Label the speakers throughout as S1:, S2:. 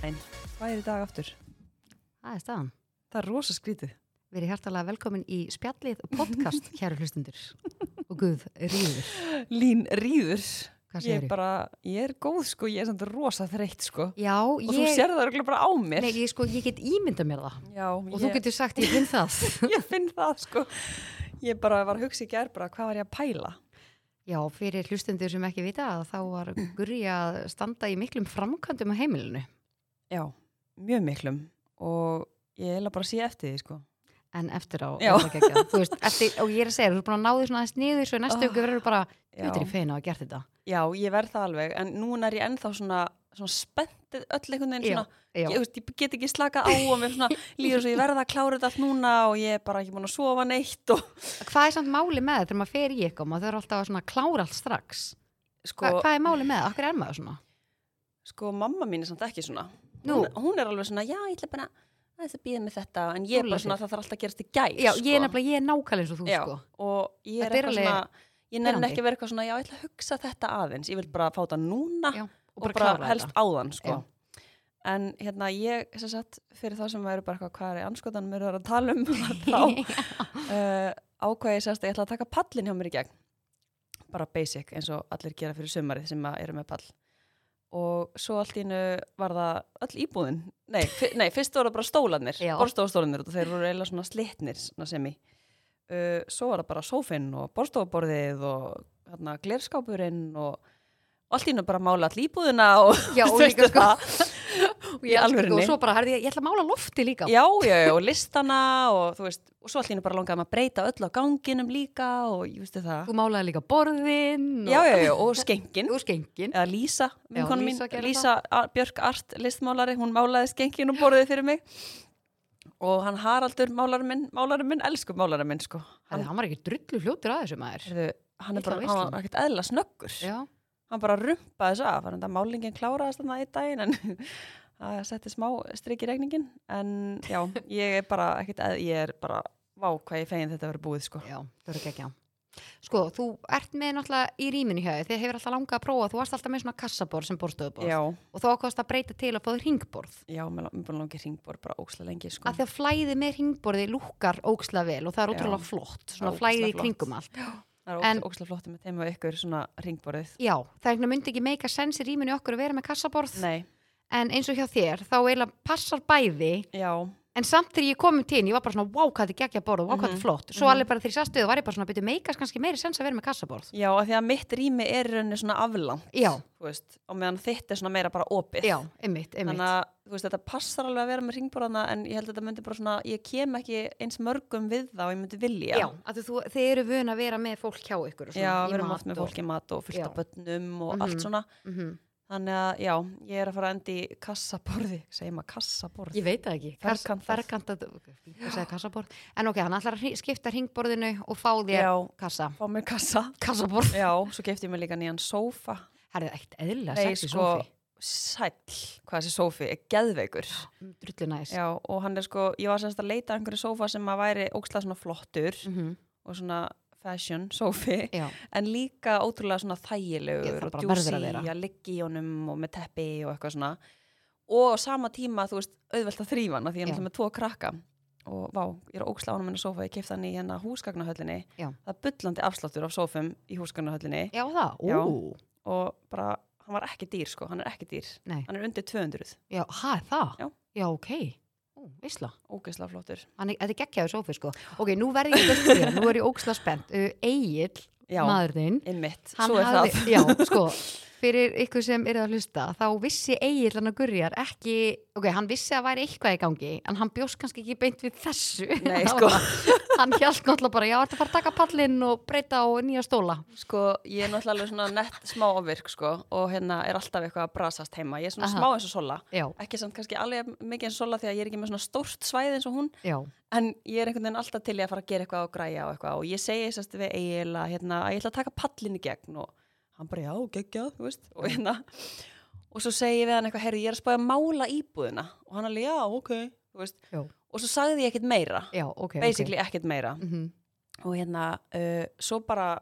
S1: daginn.
S2: Hvað er í dag aftur?
S1: Það er staðan.
S2: Það er rosa skrítið.
S1: Verið hjartalega velkomin í spjallið og podcast, kæru hlustundur. Og Guð, ríður.
S2: Lín rýður.
S1: Hvað
S2: Ég
S1: segirðu?
S2: er bara, ég er góð sko, ég er samt rosa þreytt sko.
S1: Já,
S2: Og þú
S1: ég,
S2: sér það örgulega bara á mér.
S1: nei, ég, sko, ég get ímyndað mér það.
S2: Já,
S1: Og þú
S2: ég,
S1: getur sagt, ég finn það.
S2: ég finn það sko. Ég bara var að hugsa í gerð bara, hvað var ég að pæla?
S1: Já, fyrir hlustundur sem ekki vita að þá var Gurri að standa í miklum framkvæmdum á heimilinu.
S2: Já, mjög miklum. Og ég heila bara að sé eftir því sko.
S1: En eftir á,
S2: Já.
S1: er það geggjað. þú veist, eftir, og ég er að segja, þú er búin að ná því svona aðeins niður, svo í næstu
S2: Oh.
S1: ykkur verður bara, þú
S2: Já.
S1: veitir í feina að hafa gert þetta.
S2: Já, ég verð það alveg. En núna er ég ennþá svona, svona spenntið öll einhvern veginn svona.
S1: Já,
S2: Ég, þú veist, ég get ekki slakað á og mér svona líður svo ég verða að klára þetta allt núna og ég er bara ekki búin að sofa neitt og
S1: Hvað er samt máli með það þegar maður fer í eitthvað og maður þarf alltaf að svona klára allt strax?
S2: sko,
S1: Hva, hvað er máli með það? Akkur er maður svona?
S2: Sko, mamma mín er samt ekki svona.
S1: Nú.
S2: Hún, hún er alveg svona, já, ég ætla bara aðeins að býða með þetta, en ég er bara
S1: Svoleiðis.
S2: svona, það þarf alltaf að gerast í gæl,
S1: Já,
S2: sko.
S1: ég er nefnilega, ég er nákvæmlega eins og þú,
S2: Já,
S1: sko.
S2: og ég er
S1: Þetta er
S2: eitthvað
S1: alveg
S2: svona, ég nenni
S1: pirrandi.
S2: ekki að vera eitthvað svona, já, ég ætla að hugsa þetta aðeins, ég vil bara fá þetta núna
S1: Já,
S2: og bara, bara
S1: klára
S2: helst
S1: þetta.
S2: áðan, sko. En hérna, ég, sem sagt, fyrir það sem væri bara eitthvað, hvað er í anskotanum eru að tala um, þá uh, ákvæði sérst að ég ætla að taka pallin hjá mér í gegn bara basic eins og allir gera fyrir sumarið sem að eru með pall og svo allt í innu var það all íbúðin, nei, fi- nei fyrst voru það bara stólanir,
S1: Já.
S2: borstofastólanir og þeir voru eiginlega svona slitnir svona sem í uh, svo var það bara sófinn og borstofaborðið og hérna, glerskápurinn og allt í innu bara mála all íbúðina og
S1: Já, og
S2: veistu
S1: líka, sko,
S2: það?
S1: og
S2: í
S1: ég elska
S2: alvörunni.
S1: sko, og svo bara, herði, ég, ég ætla að mála lofti líka.
S2: já, já, já, og listana og þú veist, og svo allt í innu bara langaði maður að breyta öll á ganginum líka og ég veistu það
S1: Þú málaði líka borðin
S2: já, já, já, og skengin
S1: og skengin.
S2: eða Lísa, vinkonu mín,
S1: Lísa gerði
S2: Lísa A- Björk Art listmálari, hún málaði skengin og borðið fyrir mig og hann Haraldur málarinn minn, málarinn minn, elsku málarinn minn sko,
S1: Herði,
S2: hann,
S1: hann var ekki drullu fljótur að þessu maður.
S2: heyrðu, hann er
S1: Illa
S2: bara,
S1: veislan.
S2: hann var ekkert eðla snöggur
S1: Já,
S2: hann bara rumpaði þessu af, þannig að málingin kláraðast þannig að í daginn en það setti smá strik í regningin en já, ég er bara ekkert eð, ég er bara, vá hvað ég fegin þetta verið búið sko,
S1: já, það verður ekki Sko, þú ert með náttúrulega í rýminu hjá þér, þið hefur alltaf langað að prófa, þú varst alltaf með svona kassaborð sem borðstöðuborð
S2: já,
S1: og þá ákvæmst að breyta til að fá þér ringborð.
S2: já, mér er búin langi hringbor bara óksla lengi sko
S1: að því að flæðið með ringborði lúkar óksla vel og það er
S2: Já.
S1: ótrúlega flott
S2: Það
S1: svona
S2: er
S1: flæðið í
S2: ógeðslega
S1: kringum allt
S2: það
S1: en-
S2: er óksla flott með þeim og ykkur svona hringborðið
S1: já, það er einhvern veginn myndi ekki meika sens í rýminu okkur að vera með kassaborð
S2: Nei,
S1: en eins og hjá þér þá eiginlega passar bæði
S2: já,
S1: en samt þegar ég komið til, ég var bara svona wow hvað þetta geggja borð og wow hvað
S2: Mhm.
S1: þetta er flott svo alveg bara þegar ég sastuðu var ég bara svona byrju meikas kannski meiri sens að vera með kassaborð
S2: Já, af því að mitt rými er í rauninni svona aflangt,
S1: já,
S2: þú veist, og meðan þitt er svona meira bara opið.
S1: já, einmitt, einmitt
S2: Þannig að, þú veist, þetta passar alveg að vera með ringborðana en ég held að þetta myndi bara svona, ég kem ekki eins mörgum við það og ég myndi vilja.
S1: já, að þú, þið eru vun að vera með fólk hjá ykkur og svona
S2: Já,
S1: í
S2: við erum
S1: mat
S2: oft með
S1: og-
S2: fólki mat og fullt
S1: Já.
S2: af bönnum og
S1: Mhm.
S2: allt svona.
S1: Mhm.
S2: Þannig að, já, ég er að fara að enda í kassaborði, segjum að kassaborði.
S1: Ég veit það ekki.
S2: Ferkantað.
S1: Ferkantað. Ég sagði kassaborð. En ok, hann ætlar að hri- skipta ringborðinu og fá þér
S2: Já,
S1: kassa.
S2: fá mér kassa.
S1: Kassaborð.
S2: Já, svo gefti ég mér líka nýjan sófa.
S1: Það er eitt eðlilega
S2: Nei,
S1: sexy
S2: sko,
S1: sófi.
S2: sæll, hvað þessi sófi er geðveikur.
S1: Drullu næs.
S2: Já, og hann er sko, ég var semst að leita að einhverju sófa sem að væri ókslega svona flottur
S1: Mhm.
S2: og svona fashion sófi,
S1: Já.
S2: en líka ótrúlega svona
S1: Ég,
S2: þægilegur
S1: það
S2: og
S1: bara verður
S2: djúsi
S1: að vera.
S2: að liggi í honum og með teppi og eitthvað svona og á sama tíma, þú veist, auðvelt að þrýfa hann af því ég er
S1: Já.
S2: náttúrulega með tvo krakka og vá, ég er ókslega ánum hennar sófa, ég kefti hann í hérna húsgagnahöllinni,
S1: Já.
S2: það er bullandi afsláttur af sófum í húsgagnahöllinni
S1: Já, það.
S2: Já.
S1: Ú.
S2: og bara, hann var ekki dýr sko, hann er ekki dýr,
S1: Nei.
S2: hann er undir 200,
S1: Já, hæ, það?
S2: Já.
S1: ok. Ú, Ísla.
S2: ógeðslega flottur.
S1: Hann er, þetta er geggjaður sófi, sko. Ok, nú verði ég gæst þér. Nú er ég óksla spennt. Uh, Egil,
S2: Já,
S1: maðurinn.
S2: einmitt,
S1: hann
S2: svo er það.
S1: hafði- já, sko, fyrir ykkur sem eru að hlusta þá vissi Egil hann að Gurjar ekki ok, hann vissi að væri eitthvað í gangi en hann bjóst kannski ekki beint við þessu
S2: Nei,
S1: Það
S2: sko.
S1: var- hann hjælt náttúrulega bara, já, ertu að fara að taka pallinn og breyta á nýja stóla
S2: Sko, ég er náttúrulega alveg svona nett smá ofvirk, sko, og hérna er alltaf eitthvað að brasast heima. Ég er svona
S1: Aha.
S2: smá eins og sola.
S1: já,
S2: Ekki samt kannski alveg jafn mikið eins og sola því að ég er ekki með svona stórt svæði eins og hún,
S1: já,
S2: en ég er einhvern veginn alltaf til í að fara að gera eitthvað og græja og eitthvað. Og ég segi sérst við Egil að hérna, að ég ætla að taka pallin í gegn og hann bara, já, geggjað, þú veist, og hérna. Og svo segi ég við hann eitthvað, herri, ég er að spája að mála íbúðina. Og hann alveg, já, ok, þú veist.
S1: já,
S2: Og svo sagði ég ekkert meira,
S1: já ok
S2: basically ekkert meira
S1: okay. Mhm.
S2: og hérna, uh, svo bara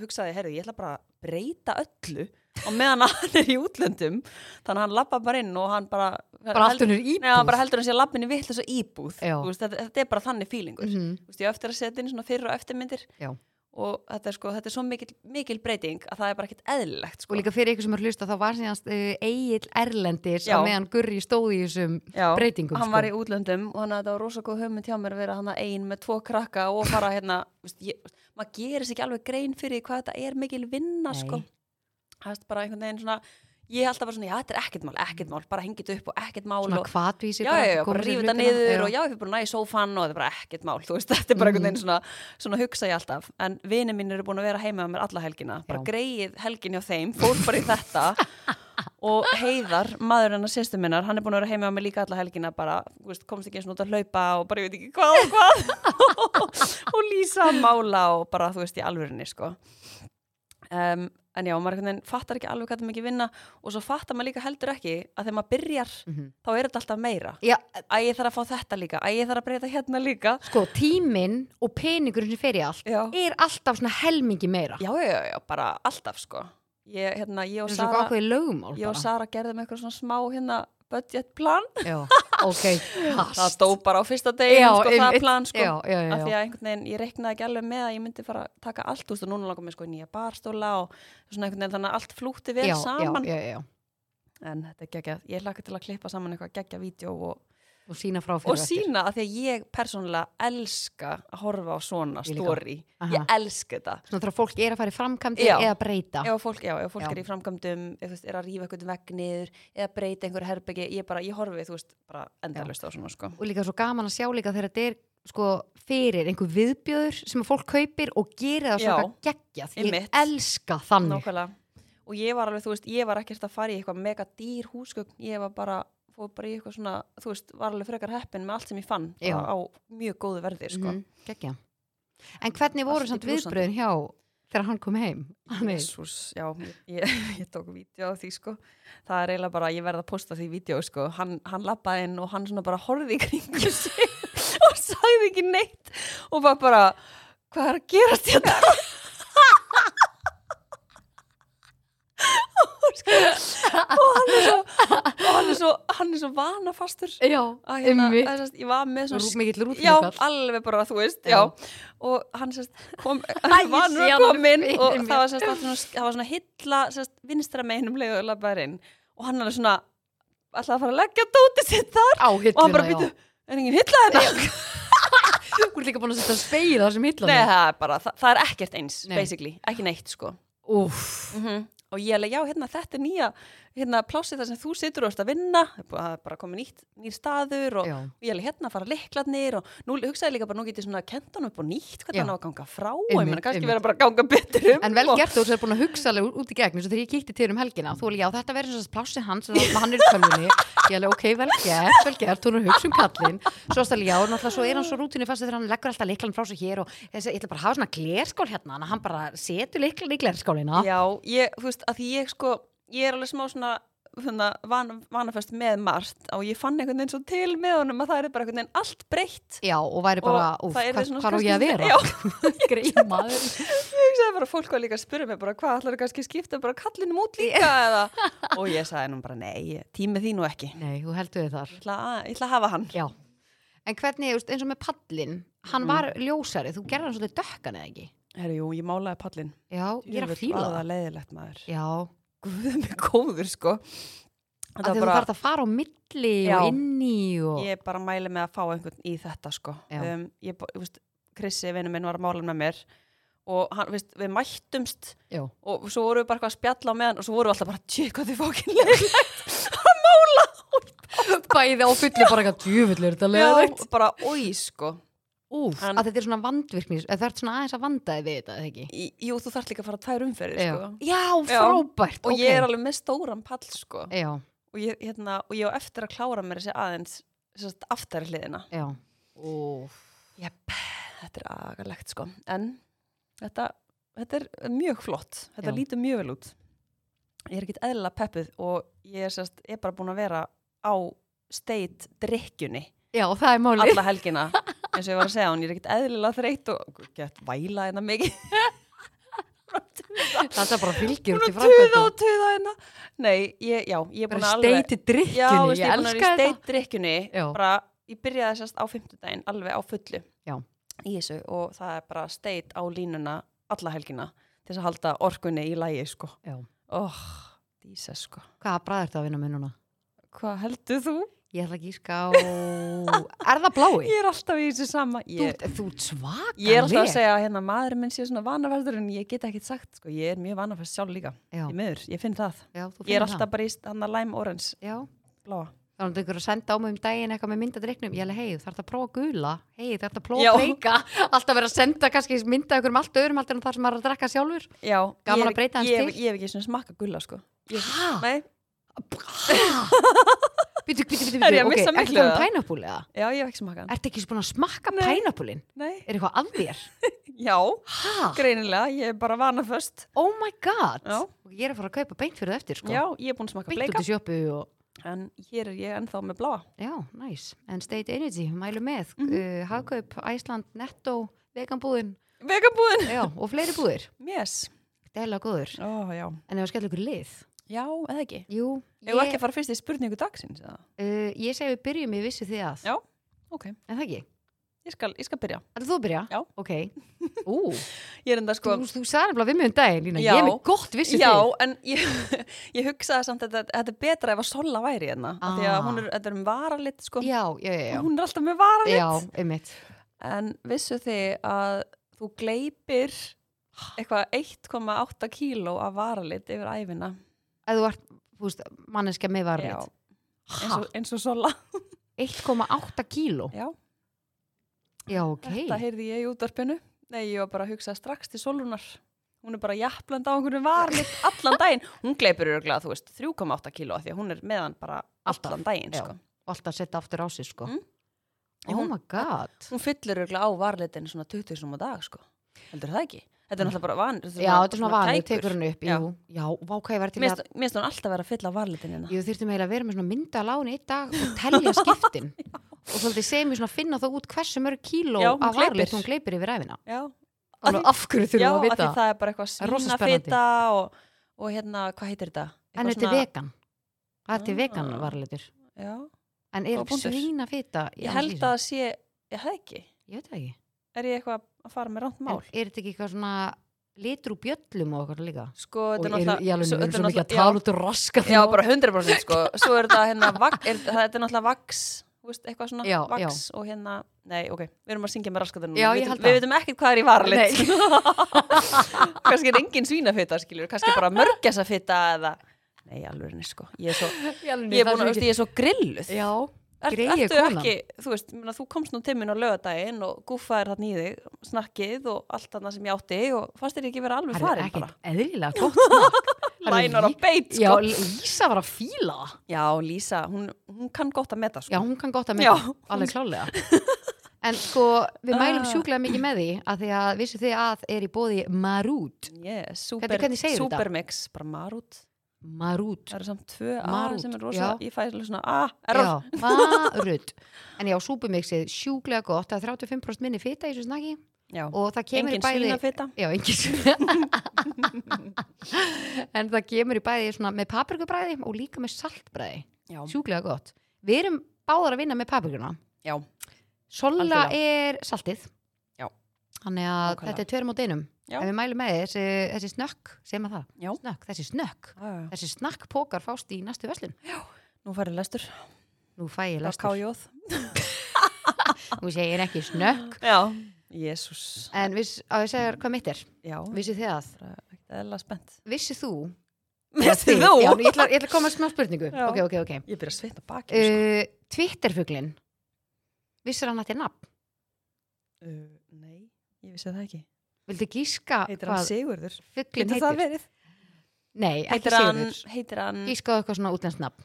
S2: hugsaði, herri, ég ætla bara að breyta öllu og meðan hann er í útlöndum þannig að hann lappa bara inn og hann bara
S1: bara allt unnur íbúð
S2: Neða, bara heldur hann sér lappinni vitt þessu íbúð
S1: Já.
S2: Þú veist, þetta, þetta er bara þannig fílingur mm.
S1: Mhm.
S2: veist, ég á eftir að setja inn svona fyrir og eftirmyndir
S1: Já.
S2: og þetta er, sko, þetta er svo mikil, mikil breyting að það er bara ekkert eðlilegt
S1: og
S2: sko.
S1: líka fyrir ykkur sem er hlusta þá var síðan uh, Egil Erlendis
S2: Já.
S1: á meðan Gurri stóði í þessum
S2: Já,
S1: breytingum sko.
S2: hann var í útlöndum og þannig að þetta var rosa góð hugmynd hjá mér að vera hann að ein með tvo krakka og fara hérna þú veist, ég, maður gerir sér ekki alveg grein fyrir því hvað þetta er mikil vinna
S1: Nei.
S2: sko. það er bara einhvern veginn svona ég held að bara svona, já þetta er ekkert mál, ekkert mál bara hengið upp og ekkert mál
S1: svona
S2: og,
S1: kvatvísi
S2: já, já, já, bara rífið þetta niður og já, við bara næði sófan og þetta er bara ekkert mál, þú veist, þetta er bara einhvern veginn svona, svona hugsa ég alltaf, en vini mín eru búin að vera heima með mér alla helgina, bara
S1: Já.
S2: greið helgin hjá þeim, fór bara í þetta og Heiðar, maður hennar sýstu minnar, hann er búin að vera heima með mér líka alla helgina bara, þú veist, komst ekki eins og út að hlaupa og bara ég veit ekki hvað og hvað og lýsa mála og bara, þú veist, í alvörinni, sko um, en já, maður einhvern veginn fattar ekki alveg hvað það er mikið vinna og svo fattar maður líka heldur ekki að þegar maður byrjar
S1: Mhm.
S2: þá er þetta alltaf meira
S1: já,
S2: að ég þarf að fá þetta líka, að ég þarf að breyta hérna líka
S1: sko, tíminn og peningurinn sem fer í allt
S2: já,
S1: er alltaf svona helmingi meira
S2: já, já, já bara alltaf sko ég, hérna, ég og
S1: það er svona
S2: Sara,
S1: ákveði lögumál
S2: ég og
S1: bara
S2: Sara gerðum eitthvað svona smá hérna budget plan
S1: já, ok, kast
S2: það stó bara á fyrsta degi
S1: Já,
S2: sko, það
S1: einmitt.
S2: plan sko
S1: já, já, já,
S2: af því
S1: já.
S2: að einhvern veginn, ég reiknaði ekki alveg með að ég myndi fara að taka allt úr og núna langar mér sko í nýja barstóla og svona einhvern veginn þannig að allt flútti vel
S1: já,
S2: saman
S1: já, já, já.
S2: en þetta er geggjað, ég hlakka til að klippa saman eitthvað geggja vídeo og,
S1: og sína frá fyrir
S2: og sína af því að ég persónulega elska að horfa á svona
S1: Ég líka.
S2: story,
S1: Aha.
S2: ég elska þetta
S1: svona þegar fólk er að fara í framkvæmdi
S2: Já.
S1: eða breyta
S2: ef að fólk, já, ef fólk
S1: Já.
S2: er í framkvæmdum ef þú veist, er að rífa eitthvað vegg niður eða breyta einhverju herbyggi, ég bara, ég horfi þú veist, bara endalust á svona, sko
S1: og líka svo gaman að sjá líka þegar þetta er sko fyrir einhver viðbjöður sem að fólk kaupir og gerir það
S2: Já.
S1: svona geggjað ég
S2: Einmitt.
S1: elska þannig
S2: Nákvæmlega, og ég var alveg, þú veist, ég var ekkert að fara í eitthvað mega dýr húsgögn, ég var bara fór bara í eitthvað svona, þú veist, var alveg frekar heppin með allt sem ég fann,
S1: Já.
S2: bara á mjög góðu verði, sko
S1: Mhm, geggjað. en hvernig
S2: Allt
S1: voru
S2: í
S1: samt
S2: blússandi.
S1: viðbröðin hjá þegar hann kom heim Hann er-
S2: Jésús, já, ég, ég tók vídeo af því sko, það er eiginlega bara, ég verð að posta því vídeo sko, hann, hann lappaði inn og hann svona bara horfði í kringu sig og sagði ekki neitt og var bara, hvað er að gerast hérna? og sko, og hann er svo, og hann er svo, hann er svo vanafastur
S1: já,
S2: að hérna,
S1: einmitt.
S2: að, sest, ég var með svona
S1: Rú- mikill
S2: já,
S1: rútlukall
S2: alveg bara, þú veist,
S1: Já.
S2: já, og hann sest, kom,
S1: ég
S2: var
S1: sé
S2: nú
S1: hann
S2: kominn
S1: fyrir
S2: og
S1: mér.
S2: það var, sest, allt svona, það var svona hilla sest, vinstra meginum leiðu og labbaður inn og hann alveg svona alltaf að fara að leggja dótið sitt þar
S1: á
S2: og hann
S1: hilluna
S2: bara
S1: já.
S2: býtu, er enginn hilla hérna?" þetta?
S1: þú er líka búin að setja speil á þessum
S2: Nei,
S1: hillunum
S2: það er bara, það, það er ekkert eins,
S1: Nei. Mhm.
S2: basically, ekki neitt, sko
S1: Úff.
S2: -hmm. og ég alveg, já, hérna, þetta er nýja hérna, plásið þar sem þú situr og ert að vinna það er bara komið nýtt, nýr staður og
S1: Já.
S2: og ég alveg, hérna, fara leikladnir og nú hugsaði líka bara, nú get ég svona kent hann upp og nýtt
S1: Já.
S2: hvernig hann á að ganga frá og
S1: Einmitt,
S2: ég meina, kannski
S1: einmitt.
S2: verða bara að ganga betur um
S1: En vel
S2: og,
S1: gert þú þú er búin að hugsa alveg út í gegn eins og þegar ég kíkti til þér um helgina þú alveg, já þetta verður eins og plássi hans og hann er í tölvunni ég alveg ok, vel gert, vel gert þú er að hugsa um kallinn svo alveg, já, náttúrulega svo er hann svo rútinu fast þegar hann leggur alltaf leiklan frá sig hér og þessi, ég ætla bara að hafa svona glerskál hérna þannig að hann bara setur leiklan í glerskálina
S2: Já, ég, þú veist, að því ég sko ég er alveg smá svona svona, van, vanaföst með margt og ég fann einhvern veginn svo til með honum að það er bara einhvern veginn allt breytt
S1: Já, og væri bara,
S2: Og
S1: úf,
S2: það yrði
S1: hvað
S2: svona
S1: hvað á ég að
S2: kannski-
S1: vera? Greið maður.
S2: ég hugsaði bara fólk var líka að spyrja mig bara hvað ætlar kannski að skipta bara kallinum út líka eða, og ég sagði nú bara nei, tími því nú ekki
S1: Nei, þú heldur þið þar.
S2: Ég ætla, að, ég ætla að hafa hann
S1: Já. En hvernig, þú veist, eins og með pallin,
S2: Mm.
S1: hann var ljósari, þú gerði hann svolítið dökkan eða ekki?
S2: Herru, jú, ég málaði pallin
S1: Já, ég er að fíla
S2: það
S1: það.
S2: leiðilegt maður
S1: Já,
S2: Guð mig góður sko
S1: að
S2: Þetta
S1: því
S2: var
S1: þú
S2: bara,
S1: þarf að fara á milli
S2: Já.
S1: og inn í og
S2: Ég bara mæli með að fá einhvern í þetta sko
S1: Já.
S2: um, Ég, bara- þú veist, Krissi, vinnu minn, var að mála með mér og hann, veist, við mættumst
S1: já,
S2: og svo vorum við bara eitthvað að spjalla á meðan og svo vorum við alltaf bara, tjé, hvað þið fókin leiðilegt að mála
S1: bæði á fullu bara eitthvað djúvillur þetta leðilegt
S2: Já, bara, oi, sko
S1: Úf,
S2: En-
S1: að þetta er svona vandvirkni eða það er svona aðeins að vandaði við þetta, eða ekki?
S2: Í- Jú, þú þarft líka að fara tvær umferðir
S1: Já,
S2: sko
S1: já
S2: Já.
S1: frábært,
S2: Og
S1: ok
S2: ég er alveg með stóran pall sko
S1: Já,
S2: og ég, hérna, og ég á eftir að klára mér þessi aðeins sérst, aftari hliðina
S1: já Úf,
S2: Jep, þetta er agalegt sko. En þetta, þetta er mjög flott. Þetta
S1: Já.
S2: lítur mjög vel út. Ég er ekkert eðla peppuð og ég er, sérst, er bara búin að vera á steit drikkjunni
S1: já, það er málið
S2: alla helgina. hérna eins og ég var að segja hún, ég er ekkert eðlilega þreytt og gett væla þetta mikið.
S1: Þetta bara fylgjur til
S2: tuða
S1: framkvæmdum.
S2: og tuða hérna Nei, ég, já, ég er búin
S1: Bara
S2: að alveg
S1: steiti
S2: Já,
S1: drikkjunni,
S2: veist,
S1: ég
S2: ég búin að
S1: elska
S2: vera í
S1: þetta.
S2: steitdrykkjunni
S1: Já.
S2: bara, ég byrjaði sérst á fimmtudaginn alveg á fullu
S1: Já.
S2: í þessu og það er bara steit á línuna alla helgina til þess að halda orkunni í lægi sko.
S1: Já.
S2: Oh, dísa sko.
S1: Hvaða bræð ertu að vinna með núna?
S2: Hvað heldur þú?
S1: Ég ætla að gíska á... Er það blái?
S2: Ég er alltaf í þessu sama.
S1: Þú
S2: Ég,
S1: ert- Þú ert svakaleg.
S2: ég er alltaf að segja að hérna, maðurinn minn sé svona vanaverður en ég get ekki sagt sko. Ég er mjög vanaverð sjálf líka.
S1: Já,
S2: Ég meður, ég finn það.
S1: já
S2: Ég
S1: þú
S2: er
S1: finnir
S2: alltaf
S1: það.
S2: bara í hann að lime orange
S1: Já,
S2: bláa.
S1: þá er þetta ykkur að senda á mig um daginn eitthvað með myndadreiknum. Ég er alveg, hei, þú þarf að prófa gula. Hei, þú þarf
S2: Já.
S1: að prófa breyka. Alltaf verið að senda kannski mynda ykkur um allt öðrum heldur en þar sem maður er að drekka sjálfur.
S2: Já, ég
S1: Gaman
S2: er-
S1: að breyta aðeins
S2: ég hef-
S1: til.
S2: Ég hef ekki svona smakka gulla sko. Ég-
S1: Hæ?
S2: Nei,
S1: Býtu, býtu, býtu,
S2: Er ég að
S1: býtu. Ok,
S2: missa
S1: ertu
S2: miklu
S1: það um
S2: eða?
S1: pænapúl eða?
S2: já, ég hef ekki smakka hann.
S1: Ertu ekki búin að smakka
S2: Nei.
S1: pænapúlin?
S2: Nei,
S1: Er eitthvað að þér?
S2: já,
S1: Hæ?
S2: greinilega, ég er bara vana föst.
S1: Oh my god.
S2: Já.
S1: Og Ég er að fara að kaupa beint fyrir það eftir, sko.
S2: Já, ég er búin að smaka
S1: Beint
S2: bleika,
S1: út í sjöpu og...
S2: en hér er ég ennþá með bláa.
S1: Já, næs. En State Energy, mælu með. Mm
S2: Mhm.
S1: Hagkaup, Æsland, Netto, veganbúðin.
S2: Vegabúðin!
S1: Já, og fleiri búðir.
S2: Yes.
S1: Þetta er alveg góður.
S2: Ó, já.
S1: En ef að skella ykkur í lið.
S2: Já, eða ekki.
S1: Jú,
S2: Ég... Ef ekki
S1: ég,
S2: að fara fyrst í spurningu dagsins, eða?
S1: uh, ég segi við byrjum í vissu því að.
S2: Já. Ok,
S1: En það ekki.
S2: ég skal, ég skal byrja.
S1: Ætlar þú að byrja?
S2: Já.
S1: Ok. Ú,
S2: Ég er enda sko...
S1: þú, þú sagði nefnilega við mig um daginn, Lína.
S2: Já.
S1: Ég er með gott vissu
S2: Já,
S1: þið.
S2: en ég, ég hugsaði samt að þetta, þetta er betra ef að Sola væri hérna. Ah. Því að
S1: Ah.
S2: hún er, þetta er um varalit, sko.
S1: Já, já, já, já.
S2: Hún er alltaf með varalit.
S1: Já, einmitt.
S2: En vissu þið að þú gleipir eitthvað 1,8 kíló af varalit yfir æfina?
S1: Að þú ert, þú veist, manneskja með varlit.
S2: eins og, eins og Sola
S1: 1,8 kíló.
S2: Já,
S1: Já, ok.
S2: þetta heyrði ég í útvarpinu Nei, ég var bara að hugsa strax til Solunar Hún er bara jafnland á einhverju varlitt allan daginn Hún gleipur örgulega, þú veist, 3,8 kíló af Því að hún er með hann bara
S1: Alltaf,
S2: allan daginn
S1: já.
S2: sko.
S1: Og alltaf að setja aftur á sig, sko.
S2: Mm. En
S1: Oh
S2: hún-
S1: my god.
S2: Hún fyllir örgulega á varlittin svona 20 sinum á dag sko. Heldur það ekki? Þetta er náttúrulega bara van
S1: Já, þetta er svona vanið, tekur hann upp,
S2: Já.
S1: jú. Já, vá, hvað ég verði til að
S2: Mér finnst hún alltaf vera að fylla hérna. á varlittinina
S1: Ég þurfti meira að vera með svona mynda láni eitt dag og telja skiptin og svolítið segja mér svona að finna þá út hversu mörg kíló
S2: Já, hún
S1: af
S2: gleypir.
S1: varlit hún gleipir yfir æfina
S2: Já,
S1: Alveg, af hverju
S2: já af því
S1: þurfum við að vita það?
S2: það er bara eitthvað
S1: er rosa
S2: svínafita og, og hérna, hvað heitir þetta?
S1: en
S2: Eitthvað
S1: þetta er vegan það er til
S2: Ah.
S1: vegan varlitur
S2: Já,
S1: en er
S2: Góð
S1: ekki
S2: punktur.
S1: svína fita í
S2: ég
S1: annars
S2: held
S1: lífi?
S2: að það sé, ég hef ekki
S1: ég veit það ekki
S2: er ég eitthvað að fara með rámt mál
S1: En er þetta ekki eitthvað svona litur úr bjöllum og eitthvað líka
S2: sko,
S1: og
S2: þetta er
S1: er, ég alveg
S2: svo-
S1: mér erum
S2: þetta er
S1: svo mikið að
S2: náttúrulega-
S1: tala út og raska
S2: já, já, bara 100% sko svo er þetta hérna, vak, er, það- þetta er náttúrulega vaks þú veist, eitthvað svona
S1: Já,
S2: vaks
S1: já.
S2: og hérna, nei, ok, við erum að syngja með raskatunum
S1: Já,
S2: við,
S1: ég held
S2: vitum- við
S1: það.
S2: veitum ekkert hvað er í varlit kannski er engin svínafita skilur, kannski bara mörgjasafita eða, nei, alveg henni sko ég er svo, ég er, búin, að- þú veist, ég er svo grilluð
S1: já,
S2: Er,
S1: Greyið
S2: ertu
S1: konan.
S2: ekki, þú veist, myrna, þú komst nú til minn á lögadaginn og gúffaðir þarna í þig, snakkið og allt þarna sem ég átti og fannst þér ekki vera alveg
S1: það er
S2: farin
S1: ekki
S2: bara.
S1: eðlilega gott smakk Það er
S2: Lænar á
S1: lí-
S2: beit,
S1: já,
S2: sko.
S1: Lísa var að fíla það
S2: Já, Lísa, hún, hún kann gott að meta, sko.
S1: Já, hún kann gott að
S2: Já,
S1: með alveg klálega En sko, við mælum
S2: Ah.
S1: sjúklega mikið með því að því að vissu þið að er í bóði Marút
S2: Yes, super,
S1: Hvernig- hvernig segirðu þetta?
S2: supermix, bara marút.
S1: Marút,
S2: Það eru samt tvö
S1: Marút,
S2: A sem er rosa,
S1: já.
S2: ég fæ svolítið svona A, error.
S1: já, Marút En já, súpumixið sjúklega gott það er 35% minni fita í þessu snakki
S2: Já,
S1: og það kemur
S2: engin
S1: í bæði
S2: svínafita.
S1: Já, engin svína En það kemur í bæði svona með paprikubræði og líka með saltbræði
S2: Já,
S1: sjúklega gott Við erum báðar að vinna með paprikuna
S2: já,
S1: Sola
S2: Algjörlega.
S1: er saltið
S2: Já.
S1: Þannig að
S2: Nákvæmlega.
S1: þetta er tveir mót einum
S2: Já.
S1: Ef við mælum með þér, þessi, þessi snökk Segum að það,
S2: Já.
S1: snökk, þessi snökk
S2: já, já.
S1: Þessi snakkpókar fást í næstu verslun
S2: Nú færðu lestur,
S1: Nú fæ ég
S2: á
S1: lestur,
S2: kájóð.
S1: þú segir ekki snökk
S2: Já, jésús,
S1: En viss, á ég segir hvað mitt er
S2: já,
S1: Vissið þið að,
S2: það er eðla spennt.
S1: vissið þú
S2: Vissið þú?
S1: Eða þið? Já, ég ætla, ég ætla að koma að smá spurningu
S2: Já.
S1: Ok, ok, ok
S2: Ég byrja að svita bakið, sko.
S1: uh, Twitterfuglin Vissir hann að þetta er nafn? Eh.
S2: Uh, nei, ég vissi það ekki.
S1: Vildu gíska
S2: Heitir hann
S1: hvað
S2: Sigurður?
S1: fuglin
S2: Getur
S1: heitir?
S2: það verið?
S1: Nei, ekki
S2: Heitir hann, Mm.
S1: Sigurður
S2: heitir hann,
S1: Gískaðu eitthvað svona útlenskt nafn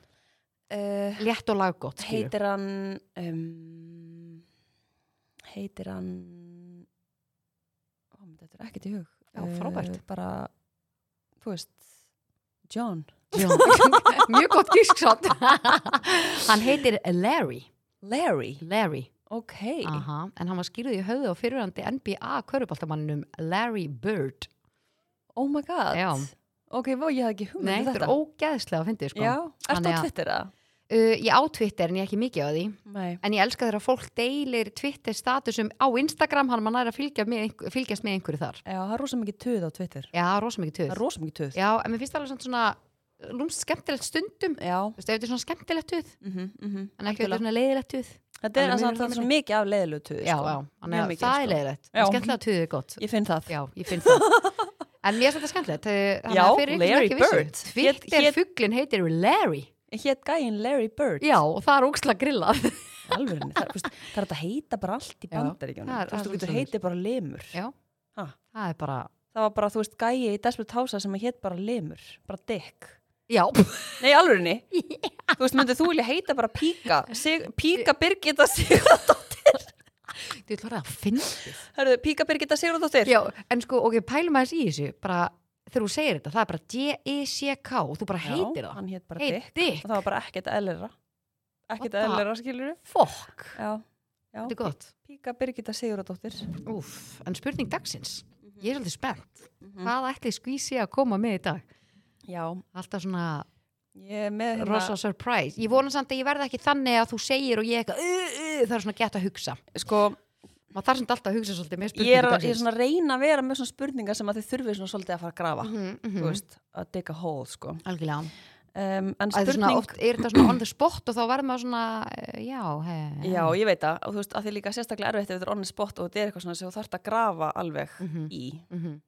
S2: uh,
S1: Létt og laggott skilurðu.
S2: heitir hann, um, heitir hann, ó, mér þetta er ekkert í hug.
S1: Já,
S2: Eh,
S1: frábært.
S2: bara, þú veist, John.
S1: Já, mjög gott gísksátt Hann heitir Larry
S2: Larry.
S1: Larry,
S2: Ok.
S1: aha, en hann var skýrðið í höfðu á fyrirandi NBA körubaltamanninum Larry Bird
S2: oh my god
S1: Já.
S2: ok, vó, ég hafði ekki hugmynd
S1: Nei,
S2: um
S1: þetta er ógeðslega að fyndi sko.
S2: já, ertu á
S1: Þannig að-
S2: Twitter eða?
S1: uh, Ég á Twitter en ég er ekki mikið á því
S2: nei,
S1: En ég elska þegar að fólk deilir Twitter statusum á Instagram hann mann er að fylgja með, einhver- fylgjast með einhverju þar
S2: já, það er rosa mikið töð á Twitter
S1: Já, rosa mikið
S2: það
S1: töð
S2: er rosa mikið töð
S1: Já, en mér finnst það alveg samt svona lúmst skemmtilegt stundum
S2: já,
S1: Þú veist, ef þetta er svona skemmtilegt töð
S2: mhm, mhm
S1: en ekki ef þetta
S2: Algjörlega.
S1: er svona leiðilegt töð
S2: þetta er
S1: Þannig
S2: að hérna það
S1: munur á
S2: er
S1: milli.
S2: svo mikið af leiðilegu töð
S1: Já,
S2: sko.
S1: já, þannig að
S2: Mjög mikið,
S1: það er
S2: sko.
S1: leiðilegt
S2: Já.
S1: En skemmtilega töð er gott
S2: ég finn það
S1: Já, ég finn það En mér finnst þetta skemmtilegt eh, þannig
S2: Já,
S1: að fyrir ykkur sem
S2: Larry
S1: ekki vissu,
S2: Bird. Hét-
S1: Twitter
S2: hét-
S1: fugglin heitir Larry
S2: ég hétt gæin Larry Bird
S1: Já, og það er óksla grillað
S2: Alvörinni, það, er, þú veist, það er hægt að heita bara allt í
S1: Já.
S2: bandaríkjónum
S1: Það er-
S2: þú veist,
S1: það
S2: þú
S1: er
S2: getur
S1: svolítið
S2: heitið bara lemur
S1: Já,
S2: Ha.
S1: það er bara
S2: það var bara, þú veist, gæi í Desperate House sem að hétt bara lemur, bara dick
S1: Já,
S2: nei, alvörinni þú veist, myndið þú vilja heita bara píka Sig, píka Birgitta Sigurdóttir
S1: þú ætlar að finna
S2: Hörðu, píka Birgitta Sigurdóttir
S1: Já, en sko, ok, pælum aðeins í þessu bara, þegar þú segir þetta, það er bara D-I-C-K og þú bara heitir það
S2: hann hétt bara dick
S1: Heiti,
S2: og það var bara ekkert eðlera ekkert
S1: What the-
S2: eðlera, skilur
S1: fokk
S2: já, já
S1: Þetta er gott, Mhm,
S2: píka Birgitta Sigurdóttir
S1: úf, en spurning dagsins Ég er svolítið spennt,
S2: Mhm.
S1: hvað ætli skvísi að koma með í dag?
S2: já,
S1: Alltaf svona
S2: ég er með hérna-
S1: rosa surprise Ég vona samt að ég verði ekki þannig að þú segir og ég eitthvað uh, uh, Það er svona gett að hugsa
S2: sko,
S1: Maður þarf samt alltaf að hugsa svolítið með
S2: ég
S1: spurningu
S2: er, að- ég er svona að reyna að vera með svona spurningar sem að þið þurfið svona svolítið að fara að grafa
S1: mm
S2: þú
S1: -hmm.
S2: veist, að digga hól sko.
S1: Algjörlega
S2: um, en
S1: Að þetta er svona,
S2: spurning,
S1: oft, er þetta svona on the spot og þá verður maður svona, eh, já, he,
S2: já ég veit það og þú veist, að þið líka sérstaklega erfitt ef þetta er onni spott og þetta er eitthvað svona sem þú þarft að grafa alveg
S1: Mhm.
S2: í
S1: Mhm.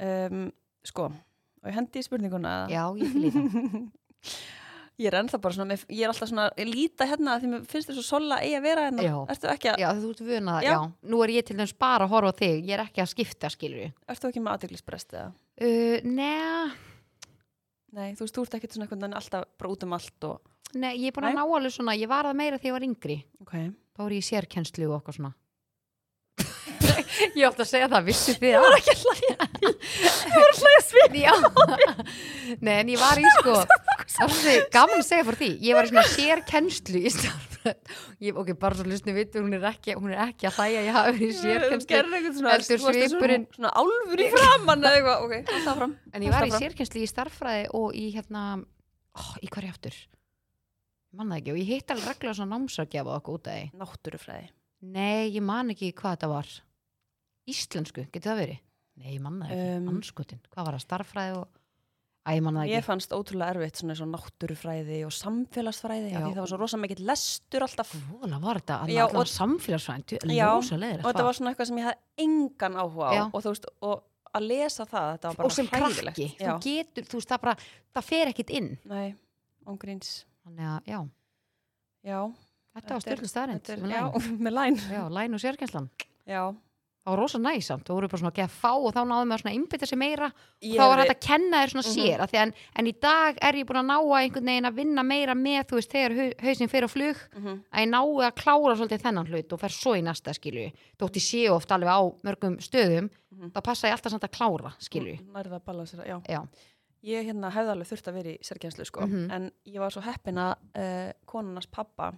S2: um, sko, og ég hendi í spurninguna eða?
S1: já, ég fylg í það.
S2: ég er ennþá bara svona, mér- ég er alltaf svona ég líta hérna að því mér finnst þér svo sola eigi að vera hérna,
S1: Já.
S2: ertu ekki, að,
S1: Já, þú ert vunað,
S2: Já.
S1: já. Nú er ég til dæmis bara að horfa á þig, ég er ekki að skipta, skilur ég.
S2: ertu ekki með aðteglisbrest eða?
S1: Uh, nei,
S2: Nei, þú veist, þú ert ekki svona einhvern veginn alltaf bara út um allt og,
S1: nei, ég er búin að
S2: Nei.
S1: ná alveg svona, ég var það meira þegar ég var yngri.
S2: okay.
S1: Þá er ég í sérkennslu og okkar svona. ég átti að segja það, vissu þið það? Ég var ekki að hlæja. ég var að hlæja svið. Já, nei, en ég var í sko, það var svolítið gaman að segja fyrir því. Ég var í svona sérkennslu í starfræð. Ok, bara svo lusni vitur, hún er ekki, hún er ekki að hlæja, ég hafa verið í sérkennslu.
S2: gerði eitthvað svona,
S1: heldur
S2: þú varst
S1: svipurinn-
S2: svona, svona álfur í framann eða eitthvað, ok, hald það fram
S1: En ég var í sérkjensli í starffræði og í hérna, ó, í hverju aftur? Ég man það ekki og ég hitt alveg regla svona námsargjafa okkur út af því.
S2: náttúrufræði
S1: Nei, ég man ekki hvað þetta var. Íslensku, getur það verið? Nei, ég man það ekki.
S2: Um,
S1: Um, Anskotin, hvað var það? Starffræði og... Æ, ég man það
S2: Mér
S1: ekki.
S2: fannst ótrúlega erfitt svona svo náttúrufræði og samfélagsfræði
S1: Já. Mm,
S2: af því það var svo rosa mikill lestur alltaf
S1: Vola var þetta að
S2: Já,
S1: náttúrulega
S2: og-
S1: og... samfélagsfrænd,
S2: Já,
S1: ljósa
S2: og þetta var svona eitthvað sem ég hafði engan áhuga á
S1: Já.
S2: og þú veist, og að lesa það þetta var bara
S1: Og sem
S2: hræðilegt.
S1: krakki,
S2: Já,
S1: þú getur, þú veist, það bara, það fer ekkit inn.
S2: nei, ongríns
S1: Þannig að, já,
S2: Já,
S1: þetta var
S2: Þetta er-
S1: stjórnlega staðrind.
S2: þetta er, já, með læn
S1: Já, læn og sérkjenslan.
S2: Já,
S1: það var rosa næsamt, þú voru bara svona að gefa fá og þá náðum maður svona að einbytta sér meira
S2: Ég
S1: og þá var
S2: hefði- Mhm.
S1: hægt að kenna þér svona sér mm en, en í dag er ég búin að ná að einhvern veginn að vinna meira með, þú veist, þegar hau- hausinn fyrir á flug
S2: Mhm.
S1: að ég nái að klára svolítið þennan hlut og fer svo í næsta skilju þótt ég sé oft alveg á mörgum stöðum
S2: Mhm.
S1: þá passa ég alltaf samt að klára skilju
S2: nærða að balla sér Já,
S1: já,
S2: ég hérna hefði alveg þurft að vera í sérkjenslu sko,
S1: Mhm.
S2: en ég var svo heppin að uh, konunars pappa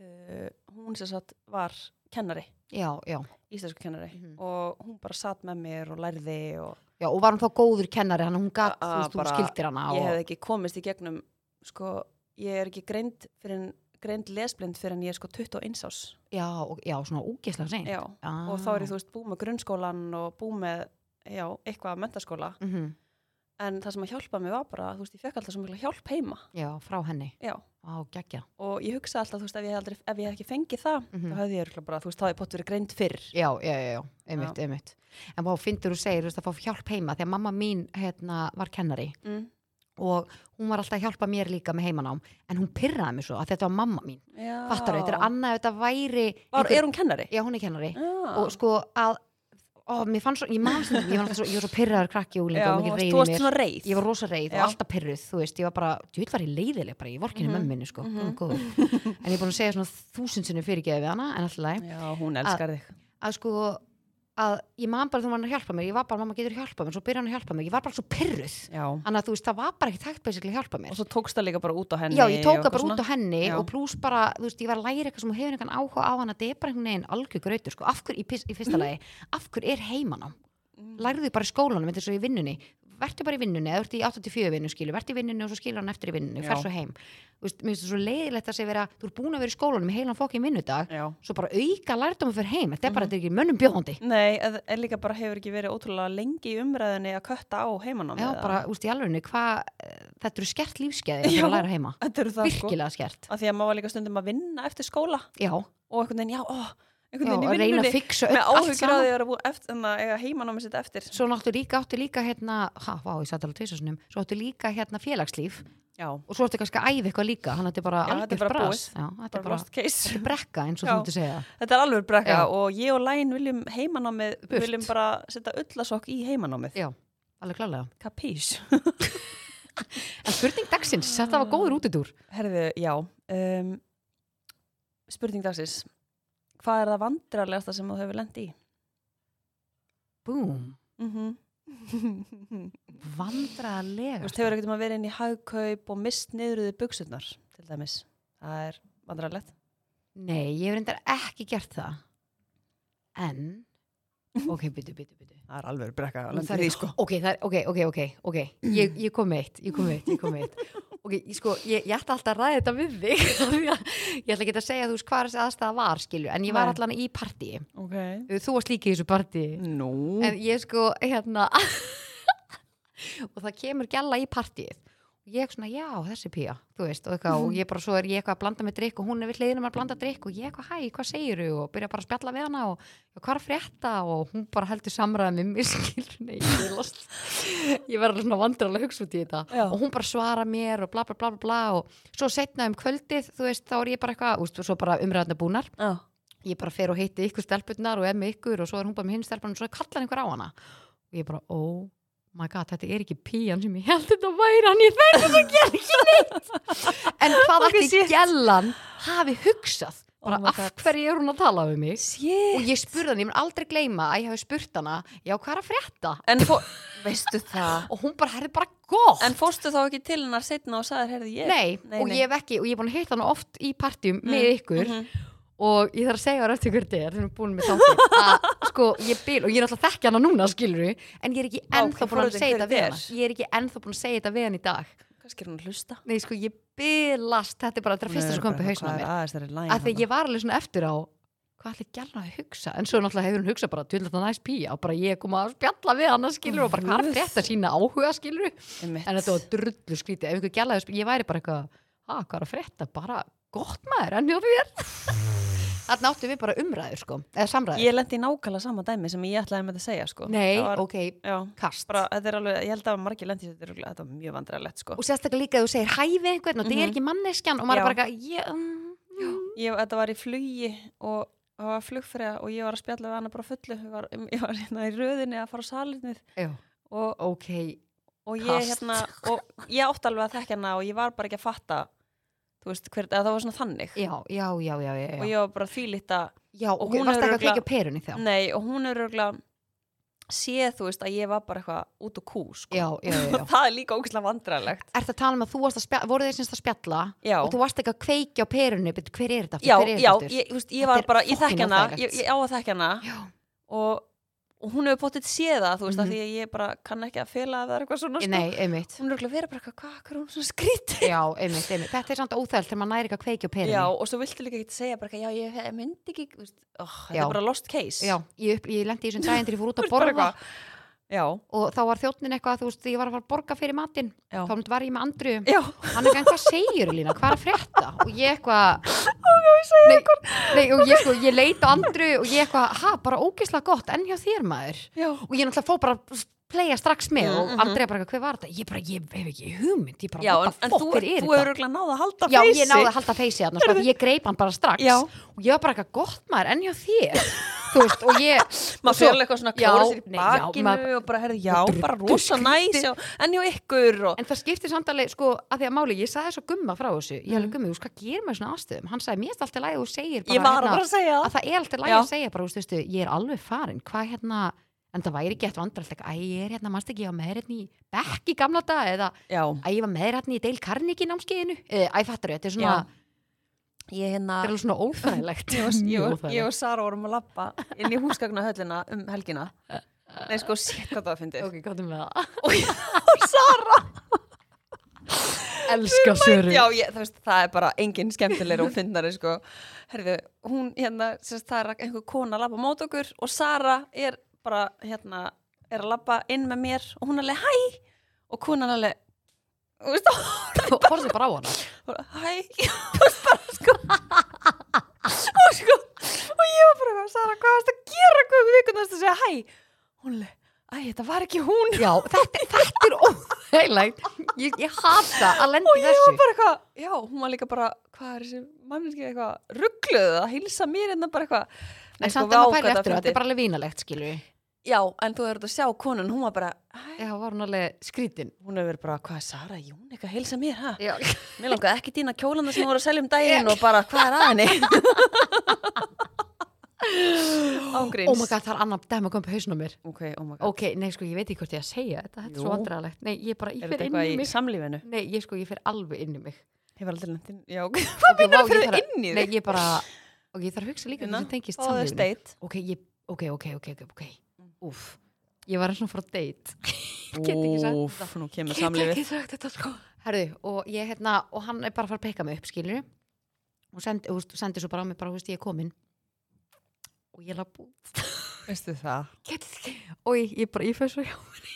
S2: uh, hún sem satt var kennari,
S1: já, já,
S2: íslensku kennari
S1: Mhm.
S2: og hún bara satt með mér og lærði og
S1: já og var hún þá góður kennari hann hún gat,
S2: A-
S1: þú veist, hún
S2: bara-
S1: skildir hana
S2: ég
S1: og,
S2: hefði ekki komist í gegnum sko, ég er ekki greind fyrir en greind lesblind fyrir en ég er sko 21 ás
S1: já, og, já, svona úgeslega seint
S2: já.
S1: ah.
S2: og þá er ég þú veist bú með grunnskólan og bú með já, eitthvað að mentaskóla
S1: mm
S2: en það sem að hjálpa mig var bara, þú veist, ég fekk alltaf svo mikla hjálp heima
S1: já, frá henni,
S2: já.
S1: á geggja
S2: og ég hugsa alltaf, þú veist, ef ég, aldrei, ef ég hef ekki fengið það
S1: Mhm.
S2: þá hefði ég örugglega bara, þú veist, þá hefði pott verið greind fyrr
S1: já, já, já, já, einmitt, einmitt en hvað finnur þú segir, þú veist að fá hjálp heima því að mamma mín hérna, var kennari
S2: mm.
S1: og hún var alltaf að hjálpa mér líka með heimanám en hún pyrraði mig svo að þetta var mamma mín fattar þetta er annað ef þetta væri
S2: Var, er hún kennari?
S1: já, hún er kennari
S2: Já.
S1: og sko að ó, mér fannst svo, ég mann sem ég var, alltaf svo, ég var svo pyrraður krakki og úlinga
S2: já,
S1: og
S2: þú
S1: mikið
S2: varst-
S1: reyði
S2: þú varst
S1: mér
S2: svona reið
S1: ég var rosa reið
S2: Já.
S1: og alltaf pyrruð, þú veist, ég var bara djúið var ég leiðileg bara, ég vor ekki henni
S2: Mhm.
S1: mömminni sko, mm
S2: Mhm.
S1: en ég er búin að segja svona þúsundsunni fyrirgeði við hana, en alltaf læg
S2: já, hún elskar þig
S1: að sko að ég man bara þegar hann var að hjálpa mér ég var bara, mamma getur hjálpa mér, svo byrja hann að hjálpa mér ég var bara svo pyrruð,
S2: já.
S1: þannig að þú veist það var bara ekki tækt basically að hjálpa
S2: og
S1: mér
S2: svo tókst það líka bara út á henni
S1: já, ég
S2: og
S1: tók það
S2: eitthvað
S1: bara út
S2: svona.
S1: á henni
S2: Já.
S1: og pluss bara, þú veist, ég var að læra eitthvað sem hún hefur
S2: Mhm.
S1: einhvern áhuga á hann að þetta er bara einhvern veginn algjör gröytur, sko, af hverju í, pis- í fyrsta lagi, af hverju er heimanám lærðu bara í skólanum þetta er svo í vinnunni vertu bara í vinnunni, eða ertu í 84 vinnu skilu vertu í vinnunni og svo skilur hann eftir í vinnunni,
S2: Já.
S1: fer svo heim Þú veist, mér finnst það svo leiðilegt að segja vera þú er búin að vera í skólanum í heilan fokkin vinnudag
S2: Já.
S1: svo bara auka lærdóma fyrir heim þetta
S2: Mhm.
S1: er bara, þetta er ekki mönnum bjóðandi
S2: Nei, en en líka bara hefur ekki verið ótrúlega lengi í umræðinni að kötta á heimannámið.
S1: Já,
S2: eða-
S1: bara, úst, í alvegni, hvað þetta eru skert lífskeiði
S2: Já.
S1: að læra heima
S2: Þetta eru það sko.
S1: virkilega skert,
S2: Af því að maður var líka stundum að vinna eftir skóla
S1: já, já
S2: og einhvern veginn, já, ó, einhvern
S1: og
S2: veginn í
S1: reyna að
S2: vinnunni.
S1: fixa
S2: Með
S1: upp allt
S2: áhugir á
S1: saman
S2: því að vera búið eftir, þannig að eiga heimannámið sitt eftir.
S1: svo áttu líka, áttu líka hérna, ha, vá, ég satt alveg tvisasunum svo áttu líka hérna félagslíf
S2: Já,
S1: og svo áttu kannski að æfa eitthvað líka þannig að þetta er bara
S2: Já, þetta er
S1: algjört
S2: bara
S1: bras Já, þetta
S2: bara
S1: er bara
S2: lost case.
S1: brekka eins og
S2: Já.
S1: þú myndir segja
S2: Þetta er alveg brekka
S1: Já.
S2: og ég og Læn viljum heimanámið,
S1: Burt.
S2: viljum bara setja öllasokk í heimanámið.
S1: Já. alveg klálega.
S2: Kapís.
S1: En spurning dagsins, þetta var góður útidúr
S2: Herðu, já. Um, spurning dagsins. Hvað er það vandrarlegasta sem þú hefur lent í?
S1: Búm,
S2: Mm
S1: Mhm.
S2: Þú
S1: vandraðlega
S2: veist, hefur ekkert um að vera inn í hagkaup og mist niðurðið buksurnar, til dæmis. Það er vandrarlegt.
S1: Nei, ég hef reyndar ekki gert það En Ok, byttu, byttu, byttu
S2: Það er alveg brekka
S1: Nú þarf ég-
S2: sko.
S1: Ok, það er, ok, ok, ok, ok Ég, ég kom með eitt, ég kom með eitt, ég kom með eitt Ok, ég, sko, ég, ég ætti alltaf að ræða þetta við þig af því að Ég ætla ekki að segja þú veist hvað þessi aðstæða var, skilju En ég var
S2: Nei.
S1: allan í partíi
S2: Ok.
S1: Þú varst líka í þessu partíi
S2: Nú.
S1: en ég sko hérna og það kemur gæla í partíið og ég svona já þessi pía þú veist og, eitthvað, og ég bara svo er ég eitthvað að blanda með drikk og hún er við hliðinum að blanda drikk og ég eitthvað hæ hvað segiru og byrja bara að spjalla við hana og "Já, hvað er að frétta og hún bara heldur samræði með mér skilur nei ég er lost ég verður svona vandrarlega að hugsa út í þetta
S2: Já.
S1: og hún bara svara mér og bla bla bla bla, bla og svo setna um kvöldið þú veist þá er ég bara eitthvað úst, og svo bara umræðna búnar
S2: Já.
S1: ég bara fer og heiti ykkur stelpunnar og er með ykkur og svo er hún bara með hinn stelpunnar og svo kallar einhver á hana og ég bara, oh my god, þetta er ekki pían sem ég held þetta væri hann ég þegar þess að gera ekki neitt en hvað
S2: Ok,
S1: ætti
S2: shit.
S1: gellan hafi hugsað bara
S2: Oh my
S1: af
S2: God.
S1: hverju er hún að tala um mig
S2: Sér.
S1: og ég spurði hann, ég mun aldrei gleyma að ég hafi spurt hana já, hvað er að frétta?
S2: En fó... veistu það?
S1: og hún bara, herði bara gott
S2: En fórstu þá ekki til hennar setna og sagði, herði ég?
S1: nei,
S2: Nei,
S1: og
S2: nei.
S1: ég hef ekki, og ég er búin að heita hana oft í partjum með ykkur
S2: Mhm.
S1: og ég þarf að segja þér eftir hver þetta er þegar við erum búin með þáttir að sko ég byl og ég er alltaf að þekkja hana núna skilur en ég er ekki ennþá
S2: ok,
S1: búin að
S2: forvitin
S1: segja
S2: hver
S1: þetta
S2: þetta
S1: við
S2: er.
S1: hana ég er ekki ennþá búin að segja þetta við hana í dag
S2: Kannski er hún að hlusta.
S1: nei sko ég bylast þetta er bara þetta er fyrsta sem kom upp í hausna mér
S2: Hvað er aðeins þeirri læn?
S1: af því að ég var alveg svona eftir á hvað ætli gæla að hugsa en svo náttúrulega hefur hún hugsað bara til þetta næst pí og bara ég kom að spjalla við hana skilur og bara hvað er
S2: Guð.
S1: frétt að sína áhuga skilur
S2: En
S1: en þetta var drullu skrítið ef einhver gælaði, að spyrja- ég væri bara eitthvað að hvað er að frétta, bara gott maður en hjá þér þarna áttum við bara umræður sko, eða samræður
S2: Ég lendi í nákvæmlega sama dæmi sem ég ætlaði með þetta að segja, sko.
S1: nei,
S2: Það var...
S1: ok,
S2: Já.
S1: kast
S2: Bara, þetta er alveg, ég held að margir lendi í þessu, þetta er örugglega- þetta var mjög vandrarlegt, sko.
S1: og sérstaklega líka að þú segir hæfi einhvern og það er
S2: Mhm.
S1: ekki manneskjan og maður
S2: Já.
S1: er bara eitthvað ég, um,
S2: ég, þetta var í flugi og það var flugfræða og ég var að spjalla við hana bara á fullu, ég var, ég var hérna í röðinni að fara á salinnið
S1: já,
S2: og,
S1: ok
S2: og ég
S1: Kast.
S2: hérna og ég átti alveg að þekka hana og ég var bara ekki að fatta þú veist, hver, eða það var svona þannig
S1: já, já, já, já, já,
S2: og
S1: já.
S2: ég var bara þvílítt að,
S1: já
S2: og
S1: ok,
S2: hún
S1: varst
S2: er
S1: ekki að
S2: örugglega- Mm.
S1: kveikja á perunni þá já,
S2: nei og hún er örgulega séð þú veist að ég var bara eitthvað út og kú sko.
S1: já, já, já.
S2: og það er líka ógæslega vandræðilegt
S1: Er það að tala um að þú varst að spjalla, voru þeir semst að spjalla
S2: Já.
S1: og þú varst ekki að kveikja á perunni, betur hver er þetta aftur,
S2: já,
S1: hver
S2: já,
S1: er þetta aftur?
S2: ég, þú veist,
S1: Þetta
S2: ég var
S1: er
S2: bara, ég
S1: fucking
S2: þekk hana
S1: vandræðilegt.
S2: ég, ég á að þekk hana
S1: Já.
S2: og, og hún hefur bóttið séð það þú veist,
S1: Mhm.
S2: af því að ég bara kann ekki að fela að það er eitthvað svona sko.
S1: Nei, einmitt
S2: hún er okkur að vera bara eitthvað, hvað, hvað er hún svona skríti
S1: Já, einmitt, einmitt. Þetta er samt óþægilegt þegar maður næri ekki að kveikja á perunni.
S2: já, og svo viltu líka ekki segja bara, eitthvað, já, ég ég myndi ekki þú veist, oh, þetta
S1: Já.
S2: er bara lost case
S1: Já, ég, upp, ég lendi í þessum daginn til ég fór
S2: Þú
S1: út að
S2: veist, bara
S1: borða
S2: eitthvað. já,
S1: og þá var þjóttin eitthvað, þú veist, þegar ég var að fara að borga fyrir matinn
S2: Já.
S1: þá var ég með andru
S2: já,
S1: hann eitthvað, hvað segir Lína, hvað er að frétta og ég eitthvað nei, nei, og ég, sko, ég leit á andru og ég eitthvað, ha, bara ógislega gott enn hjá þér maður
S2: já
S1: og ég náttúrulega fór bara að playa strax með
S2: Mm, mhm.
S1: og andri bara, eitthvað, hver var þetta? Ég bara, ég hef ekki hugmynd, ég bara,
S2: já, en,
S1: what the
S2: en þú,
S1: fuck, hver er
S2: þú
S1: þetta?
S2: hefur okkur að náða að halda
S1: Já,
S2: feysi
S1: ég náði að halda feysi hérna, sko, af því ég greip hann bara strax
S2: Já.
S1: og ég var bara eitthvað gott maður enn hjá þér þú veist, og ég
S2: maður fyrir eitthvað svona að
S1: Já,
S2: klára sér í
S1: nei, já,
S2: bakinu
S1: maður-
S2: og bara, herði, já,
S1: Drullu
S2: bara rosa næs já, en já, ykkur og,
S1: En það skiptir samtalið, sko, að því að máli, ég sagði svo gumma frá þessu, ég hefði
S2: Mhm.
S1: gummi, þú veist, hvað gerir maður í svona ástöðum? Hann sagði, mér er alltaf læg og segir bara, hérna
S2: ég var að bara að segja
S1: að
S2: það
S1: það er alltaf læg
S2: Já.
S1: að segja bara, þú veist, ég er alveg farin, hvað hérna, en það væri gett vandralt, æ, ég er hérna, mannst ekki, ég var með þér hérna í bekk í gamla dag, eða,
S2: já,
S1: æ, ég var með þér hérna í Dale Carnegie námskeiðinu, Eh, æ, fattar þetta er
S2: Já.
S1: svona,
S2: ég hérna
S1: þetta er alveg svona óþægilegt,
S2: ég, var, ég,
S1: Mjög
S2: var,
S1: óþægilegt.
S2: ég og Sara vorum að lappa inn í húsgagnahöllina um helgina Nei, sko, sér hvað það var fyndið.
S1: ok, gott um með það
S2: Sara!
S1: elska Söru
S2: Já, ég, þú veist, það er bara engin skemmtilegri og fyndnari, sko. Herðu, hún, hérna, sérst, það er einhver kona að labba mót okkur og Sara er bara, hérna, er að labba inn með mér og hún alveg, hæ! Og konan alveg, þú veist,
S1: horfðu bara á hana
S2: bara, hæ og bara sko og sko og ég var bara eitthvað, Sara, hvað varst að gera hvað vikun þess að segja hæ hún leið, æ, þetta var ekki hún
S1: já, þetta, þetta er óheilægt ég, ég hata að lendi
S2: og ég var
S1: þessu
S2: bara eitthvað, já, hún var líka bara hvað er þessi mannskið eitthvað ruggluð að hilsa mér en það bara eitthvað Nei,
S1: en
S2: vá,
S1: samt að maður
S2: hvað
S1: pæli eftir á,
S2: fyndi.
S1: þetta er bara alveg vínalegt skilur við
S2: já, en þú verður að sjá konun, hún var bara hæ,
S1: já, var hún alveg skrítin Oh
S2: hún hefur verið bara, hvað er Sara Jón eitthvað að hilsa mér, hæ
S1: já,
S2: mér langaði ekki dýna kjólanda sem hún voru að selja um daginn og bara, hvað er að henni ángríns
S1: oh my god, það er annar dæma að koma upp hausnum mér
S2: Ok, oh my god.
S1: ok, nei sko, ég veit ekki hvort ég að segja þetta þetta er
S2: Jú.
S1: svo andralegt, nei, ég bara, ég
S2: Er þetta
S1: fer inn í
S2: eitthvað í
S1: mig
S2: samlífinu?
S1: nei, ég sko, ég fer alveg inn í mig
S2: Hefur aldrei lendin? Já, ok.
S1: hvað
S2: meinarðu fyrir inn í
S1: nei,
S2: þig?
S1: ég bara, ok, ég þarf að hugsa líka
S2: Una,
S1: þetta tengist
S2: Fáðu þér
S1: samlífinu
S2: steit.
S1: ok, ég, ok, ok, ok, ok, ok úf, ég var eins og frá date Get ekki sagt
S2: Úff, nú kemur
S1: Get
S2: samlífið.
S1: ekki sagt þetta sko Herðu, og ég hérna, og hann er bara að fara að peka mig upp, skilur og sendi, húst, sendi svo bara á mig, bara, húst, ég er komin og ég laf út
S2: Veistu það?
S1: Get ekki, og ég, ég bara, ég fæði svo hjá mér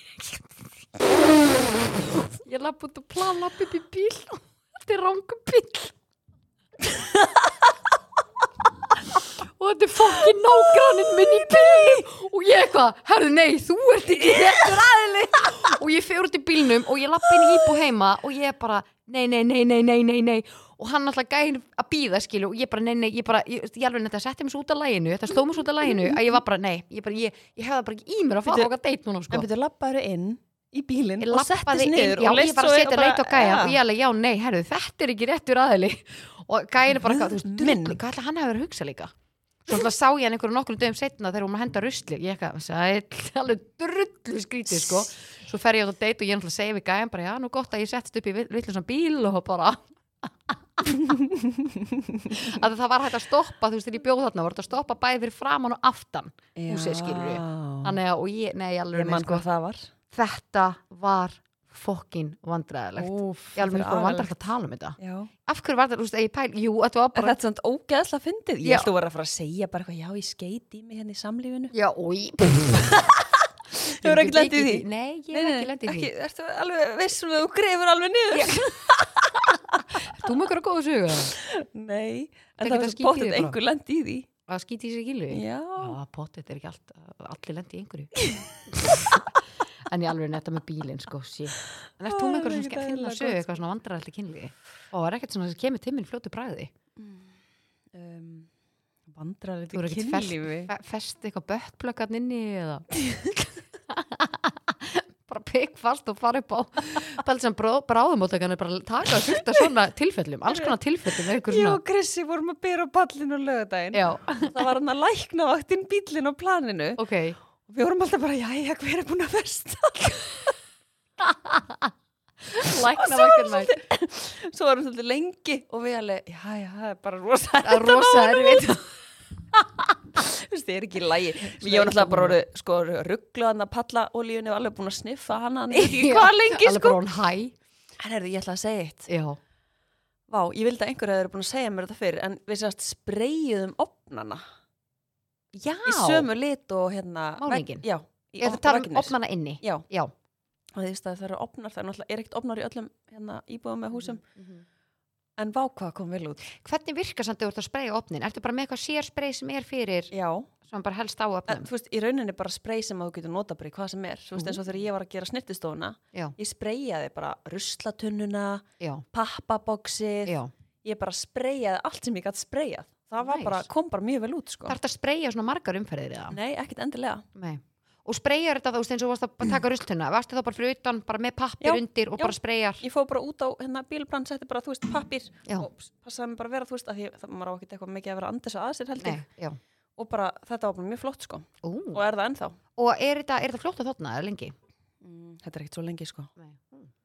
S1: ég laf út og plan laf upp í bíl og þetta er rangum bíl og þetta er fokkin nágranninn minn í bílnum og ég eitthvað, herðu nei, þú ert ekki réttur aðili og ég fyrir út í bílnum og ég lappi inn í íbú heima og ég bara, nei, nei, nei, nei, nei, nei, nei og hann alltaf gæðin að býða skilu og ég bara, nei, nei, ég bara, ég, ég alveg þetta setti mér svo út af læginu, þetta sló mér svo út af læginu að ég var bara, nei, ég bara, ég, ég hefði bara ekki í mér að fara
S2: Bíddu,
S1: okkar deitt núna sko
S2: En betur labbaður inn í bílinn
S1: Ég
S2: og
S1: labbaði
S2: settist
S1: inn,
S2: niður
S1: já,
S2: og
S1: ég var að setja reyta á gæja og ég alveg, já, nei, herðu, þetta er ekki réttur aðeili og gæjan er bara, eitthvað, þú veist,
S2: Guð minn.
S1: drullu, hvað ætla hann hefur að hugsa líka svo alltaf sá ég hann einhverju nokkrum dögum setna þegar hún var að henda rusli, ég eitthvað, sæll alveg drullu skrítið, sko svo fer ég á þetta date og ég náttúrulega segi við gæjan bara, já, nú gott að ég settist upp í vitlusan bíl og bara að það var hægt að stoppa, þú veist, þegar ég bjóð þarna var hægt að stoppa bæði fyrir framan og aftan húsið, skilurðu.
S2: ég.
S1: þannig að, og ég, nei, alveg,
S2: Ég mann
S1: sko,
S2: hvað það var.
S1: þetta var fokkin vandræðilegt
S2: Úff,
S1: Ég alveg
S2: þetta
S1: mér
S2: er
S1: bara vandar
S2: agalegt.
S1: að tala um þetta.
S2: Já.
S1: Af hverju var þetta, þú veist, að ég pæl, jú, þetta var
S2: En þetta
S1: bara,
S2: er svona ógeðslega fyndið.
S1: Já.
S2: Ég ætti að vera að fara að segja bara eitthvað, já, ég skeiti í mig hérna í samlífinu.
S1: já, úi.
S2: Hefur ekki lent í því?
S1: Nei, ég hef ekki lendið því.
S2: Ertu alveg vissum að þú grefur alveg niður?
S1: Þú mjög að góða sögu.
S2: Nei,
S1: Það
S2: en það
S1: geta
S2: var svo
S1: skítið
S2: bótt
S1: þig
S2: að
S1: bara.
S2: einhver lendi í því.
S1: Að skýti í sig gilu.
S2: Já.
S1: Já, potið er ekki allt, allir lendið í einhverju. en ég alveg netta með bílinn, sko, síðan. En erst
S2: Ó,
S1: þú
S2: það
S1: með
S2: er
S1: eitthvað
S2: ekkert
S1: svona finnilega
S2: eðlilega
S1: sögu,
S2: gott.
S1: eitthvað svona vandræðalli kynliði? Og er ekkert svona sem kemur timminn fljótu bræði?
S2: Um, Vandrar
S1: Þú eru
S2: þetta
S1: ekkert fest,
S2: kynlífi.
S1: fe- fest eitthvað böttplökkarn inni eða bara pikk fast og fara upp á bara sem bráðumóttakan er bara að taka að fyrta svona tilfellum alls konar tilfellum eða einhver
S2: Ég og
S1: svona
S2: Krissi vorum að byrja á ballinu á lögadaginn.
S1: Já,
S2: Það var hann að lækna vaktinn bílinn á planinu.
S1: ok
S2: Og við vorum alltaf bara, jæja, hver er búin að festa?
S1: Lækna vakar nætt
S2: Svo varum svolítið lengi og við alveg, jæja, það er bara rosa.
S1: Það er rosa erfitt
S2: Þú veist, það er ekki í lægi. Ég var náttúrulega bara orðið, sko, rugglaðan að palla olíunni og alveg búin að sniffa hana. Hann veit ekki hvað lengi,
S1: Alveg
S2: sko.
S1: bara hún hæ
S2: En er ég ætla að segja eitt.
S1: Já,
S2: Vá, ég vildi að einhverja þeir eru búin að segja mér þetta fyrir, en við sérst spreyjuðum opnana.
S1: já
S2: í sömu lit og hérna
S1: Málningin?
S2: vegg- já, í
S1: Ég
S2: op-
S1: það tala um
S2: veggirnir.
S1: opnana inni
S2: já,
S1: Já
S2: og því að það eru opnar það er náttúrulega er ekkert opnar í öllum hérna íbúðum
S1: Mhm.
S2: með húsum en vá hvað kom vel út
S1: Hvernig virkar samt þegar þú ert að spreja opnin? Ertu bara með eitthvað sérsprey sem er fyrir
S2: já,
S1: sem bara helst á
S2: en,
S1: opnum?
S2: þú veist, í rauninni bara sprey sem að þú getur nota bara í hvað sem er þú veist, eins og
S1: Ú.
S2: þegar ég var að gera snirtistofuna
S1: Mhm. Já,
S2: ég spreyjaði bara ruslatunnuna
S1: já,
S2: pappaboksið,
S1: já
S2: ég bara spreyjaði allt sem ég gætt spreyjað það var
S1: Nice.
S2: bara, kom bara mjög vel út sko.
S1: Það ert að spreyja svona margar umferðir eða?
S2: nei, ekkert endilega
S1: Nei. Og spreyjar þetta þú veist eins og varst að taka rulltunna, varstu þá bara fyrir utan, bara með pappir
S2: Mm. Já,
S1: undir og
S2: já.
S1: bara spreyjar?
S2: ég fóð bara út á hérna, bílbrann, setti bara, þú veist, pappir
S1: Já.
S2: og passaði mig bara að vera, þú veist, að því það maður á ekkert eitthvað mikið að vera að anda þessu að sér held
S1: Nei,
S2: ég
S1: já.
S2: og bara þetta var bara mjög flott sko
S1: Ú.
S2: og er það ennþá
S1: Og er Mm, þetta, er þetta fljótt að þóttna eða lengi?
S2: Þetta er ekkert svo lengi sko
S1: Nei.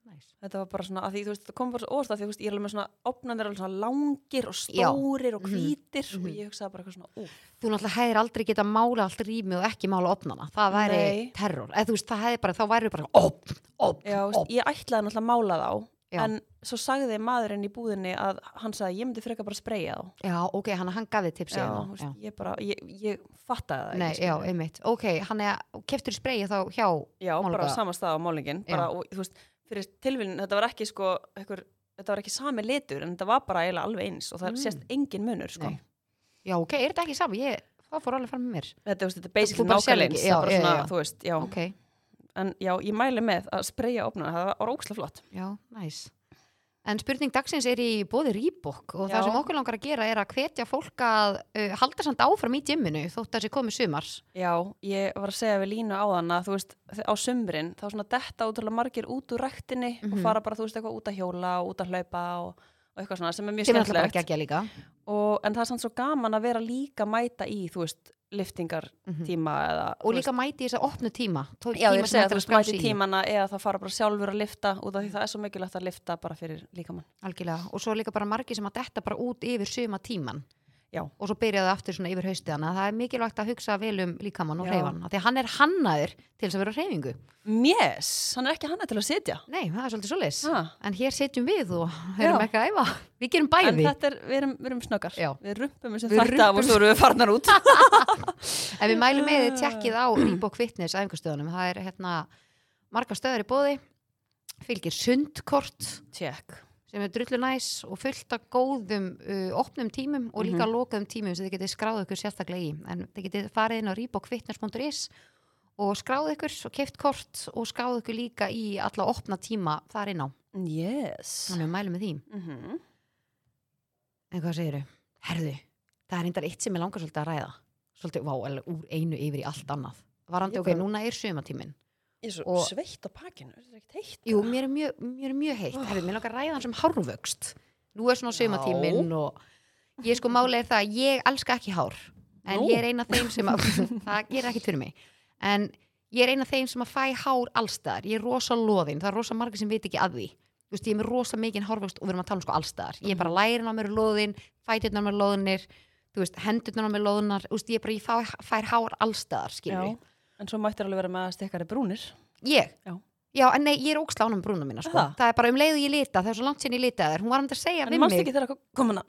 S1: næs
S2: þetta var bara svona, að því þú veist, það kom bara svo óvart að því þú veist, ég er alveg með svona, opnanir alveg svona langir og stórir og
S1: Mhm.
S2: hvítir
S1: Mhm.
S2: og ég hugsaði bara eitthvað svona, ú,
S1: þú náttúrulega hefðir aldrei geta mála allt rými og ekki mála opnana, það væri
S2: Nei.
S1: terror eða þú veist, það hefði bara, þá væri bara opn, opn,
S2: já, þú veist,
S1: opn
S2: ég ætlaði náttúrulega að mála þá,
S1: Já.
S2: en svo sagði maðurinn í búðinni að hann sagði, ég myndi frekar bara spreyja þá,
S1: já, ok, hann, hann gaf þið tipsi
S2: já,
S1: hérna,
S2: þú
S1: já.
S2: veist, ég bara, ég, ég fattaði það
S1: Nei,
S2: ekki,
S1: já,
S2: skilurðu.
S1: einmitt, ok, hann er keftur spreyja þá hjá,
S2: já, bara
S1: málninga.
S2: á sama stað á málingin, bara,
S1: Já.
S2: og, þú veist, fyrir tilvílinn, þetta var ekki sko, ekkur, þetta var ekki sami litur, en þetta var bara eiginlega alveg eins og það
S1: Mm.
S2: sést engin munur, sko.
S1: Nei. já, ok, er þetta ekki saman ég, það fór alveg fram með mér,
S2: Þetta, þú veist, þetta er
S1: Þú
S2: basically
S1: bara sérð
S2: nákvæmlega
S1: ekki,
S2: eins,
S1: já,
S2: það er bara
S1: já,
S2: svona,
S1: já.
S2: þú veist, já.
S1: ok
S2: En já, ég mæli með að spreyja opnuna, það var ókslega flott.
S1: Já, næs. En spurning dagsins er í bóði Rýbokk og það
S2: Já.
S1: sem okkur langar að gera er að hvetja fólk að uh, halda samt áfram í gymminu þótt að sé komið sumars.
S2: Já, ég var að segja við Línu áðan að þú veist, þ- á sumrin, þá svona detta útrúlega margir út úr rektinni
S1: Mhm.
S2: og fara bara, þú veist, eitthvað út að hjóla og út að hlaupa og, og eitthvað svona sem er mjög
S1: Sem er alltaf bara
S2: skemmtilegt.
S1: ekki að líka.
S2: Og, en það er samt svo gaman að vera líka að mæta í, þú veist, liftingar
S1: Mhm.
S2: tíma eða... þú
S1: Og
S2: veist-
S1: líka mæti í þess að opnu tíma. tó-
S2: Já, ég
S1: tíma
S2: er að
S1: sem
S2: segja
S1: hægt
S2: þú
S1: að
S2: veist
S1: skrá
S2: mæti
S1: sig í.
S2: tímana eða það fara bara sjálfur að lifta út af því það er svo mikilvægt að lifta bara fyrir líkamann.
S1: Algjörlega. Og svo líka bara margir sem að detta bara út yfir suma tíman.
S2: Já.
S1: Og svo byrjaði aftur svona yfir haustið hana. Það er mikilvægt að hugsa vel um líkamann og
S2: Já.
S1: hreyfann. Því að hann er hannaður til þess að vera á hreyfingu.
S2: Mjess, hann er ekki hanna til að sitja.
S1: Nei, það er svolítið svoleiðis.
S2: Ha.
S1: En hér setjum við og erum
S2: Já.
S1: ekki að æfa. Við gerum bæði.
S2: En þetta er, við erum, við erum snöggar.
S1: Já.
S2: Við rumpum þessu
S1: Við
S2: þetta af
S1: rumpum-
S2: og svo erum við farnar út.
S1: En við mælum með þið tjekkið á Reebok Fitness æfingastöðunum. Það er hérna marga stöður í bóði, fylgir sundkort
S2: Tjekk.
S1: sem er drullu næs og fullt af góðum uh, opnum tímum og líka lokaðum tímum sem þið getið skráð ykkur sérstaklega í. En þið getið farið inn á reebokfitness.is og skráð ykkur og keft kort og skráð ykkur líka í alla opna tíma þar inn á.
S2: Yes.
S1: Þannig við mælum með því.
S2: Mm -hmm.
S1: En hvað segirðu? Herðu, það er reyndar eitt sem ég langar svolítið að ræða. Svolítið, vá, alveg úr einu yfir í allt annað. Varandi,
S2: Ég
S1: ok,
S2: bara-
S1: núna er sömatíminn.
S2: Ég er svo
S1: Og-
S2: sveitt á pakinu, er þetta ekkert heitt?
S1: Jú, mér er mjög, mér er mjög heitt.
S2: Oh.
S1: Herðu, mér langar að ræða hann sem hárvöxt. Nú er svona
S2: Já.
S1: sömatíminn og ég sko máli er það að ég elska ekki hár. En
S2: Nú.
S1: ég er eina þeim sem að, það gerir ekkit fyrir mig. En ég er eina þeim sem að fæ hár allstaðar. Ég er rosa loðin, það er rosa margir sem veit ekki að því. Þú veist, ég er með rosa mikinn hárvöxt og við erum að tala um sko allstaðar. Ég er
S2: Mhm.
S1: bara lærin á mér er loðin, fætirnar á mér loðinir, þú veist, hendurnar á mér loðinar, þú veist, ég er bara, ég fæ, fær hár allstaðar, skilur
S2: Já. En svo mættir alveg vera með að stikkari brúnir.
S1: Ég?
S2: Já.
S1: Já, en nei, ég er óksla ánum brúna mína, sko.
S2: Er það?
S1: Það er bara um leiðu ég lita, það er svo langt sinni ég litaði þær. Hún var hann að segja
S2: En
S1: við
S2: mannst
S1: mig.
S2: ekki þegar eitthvað komin að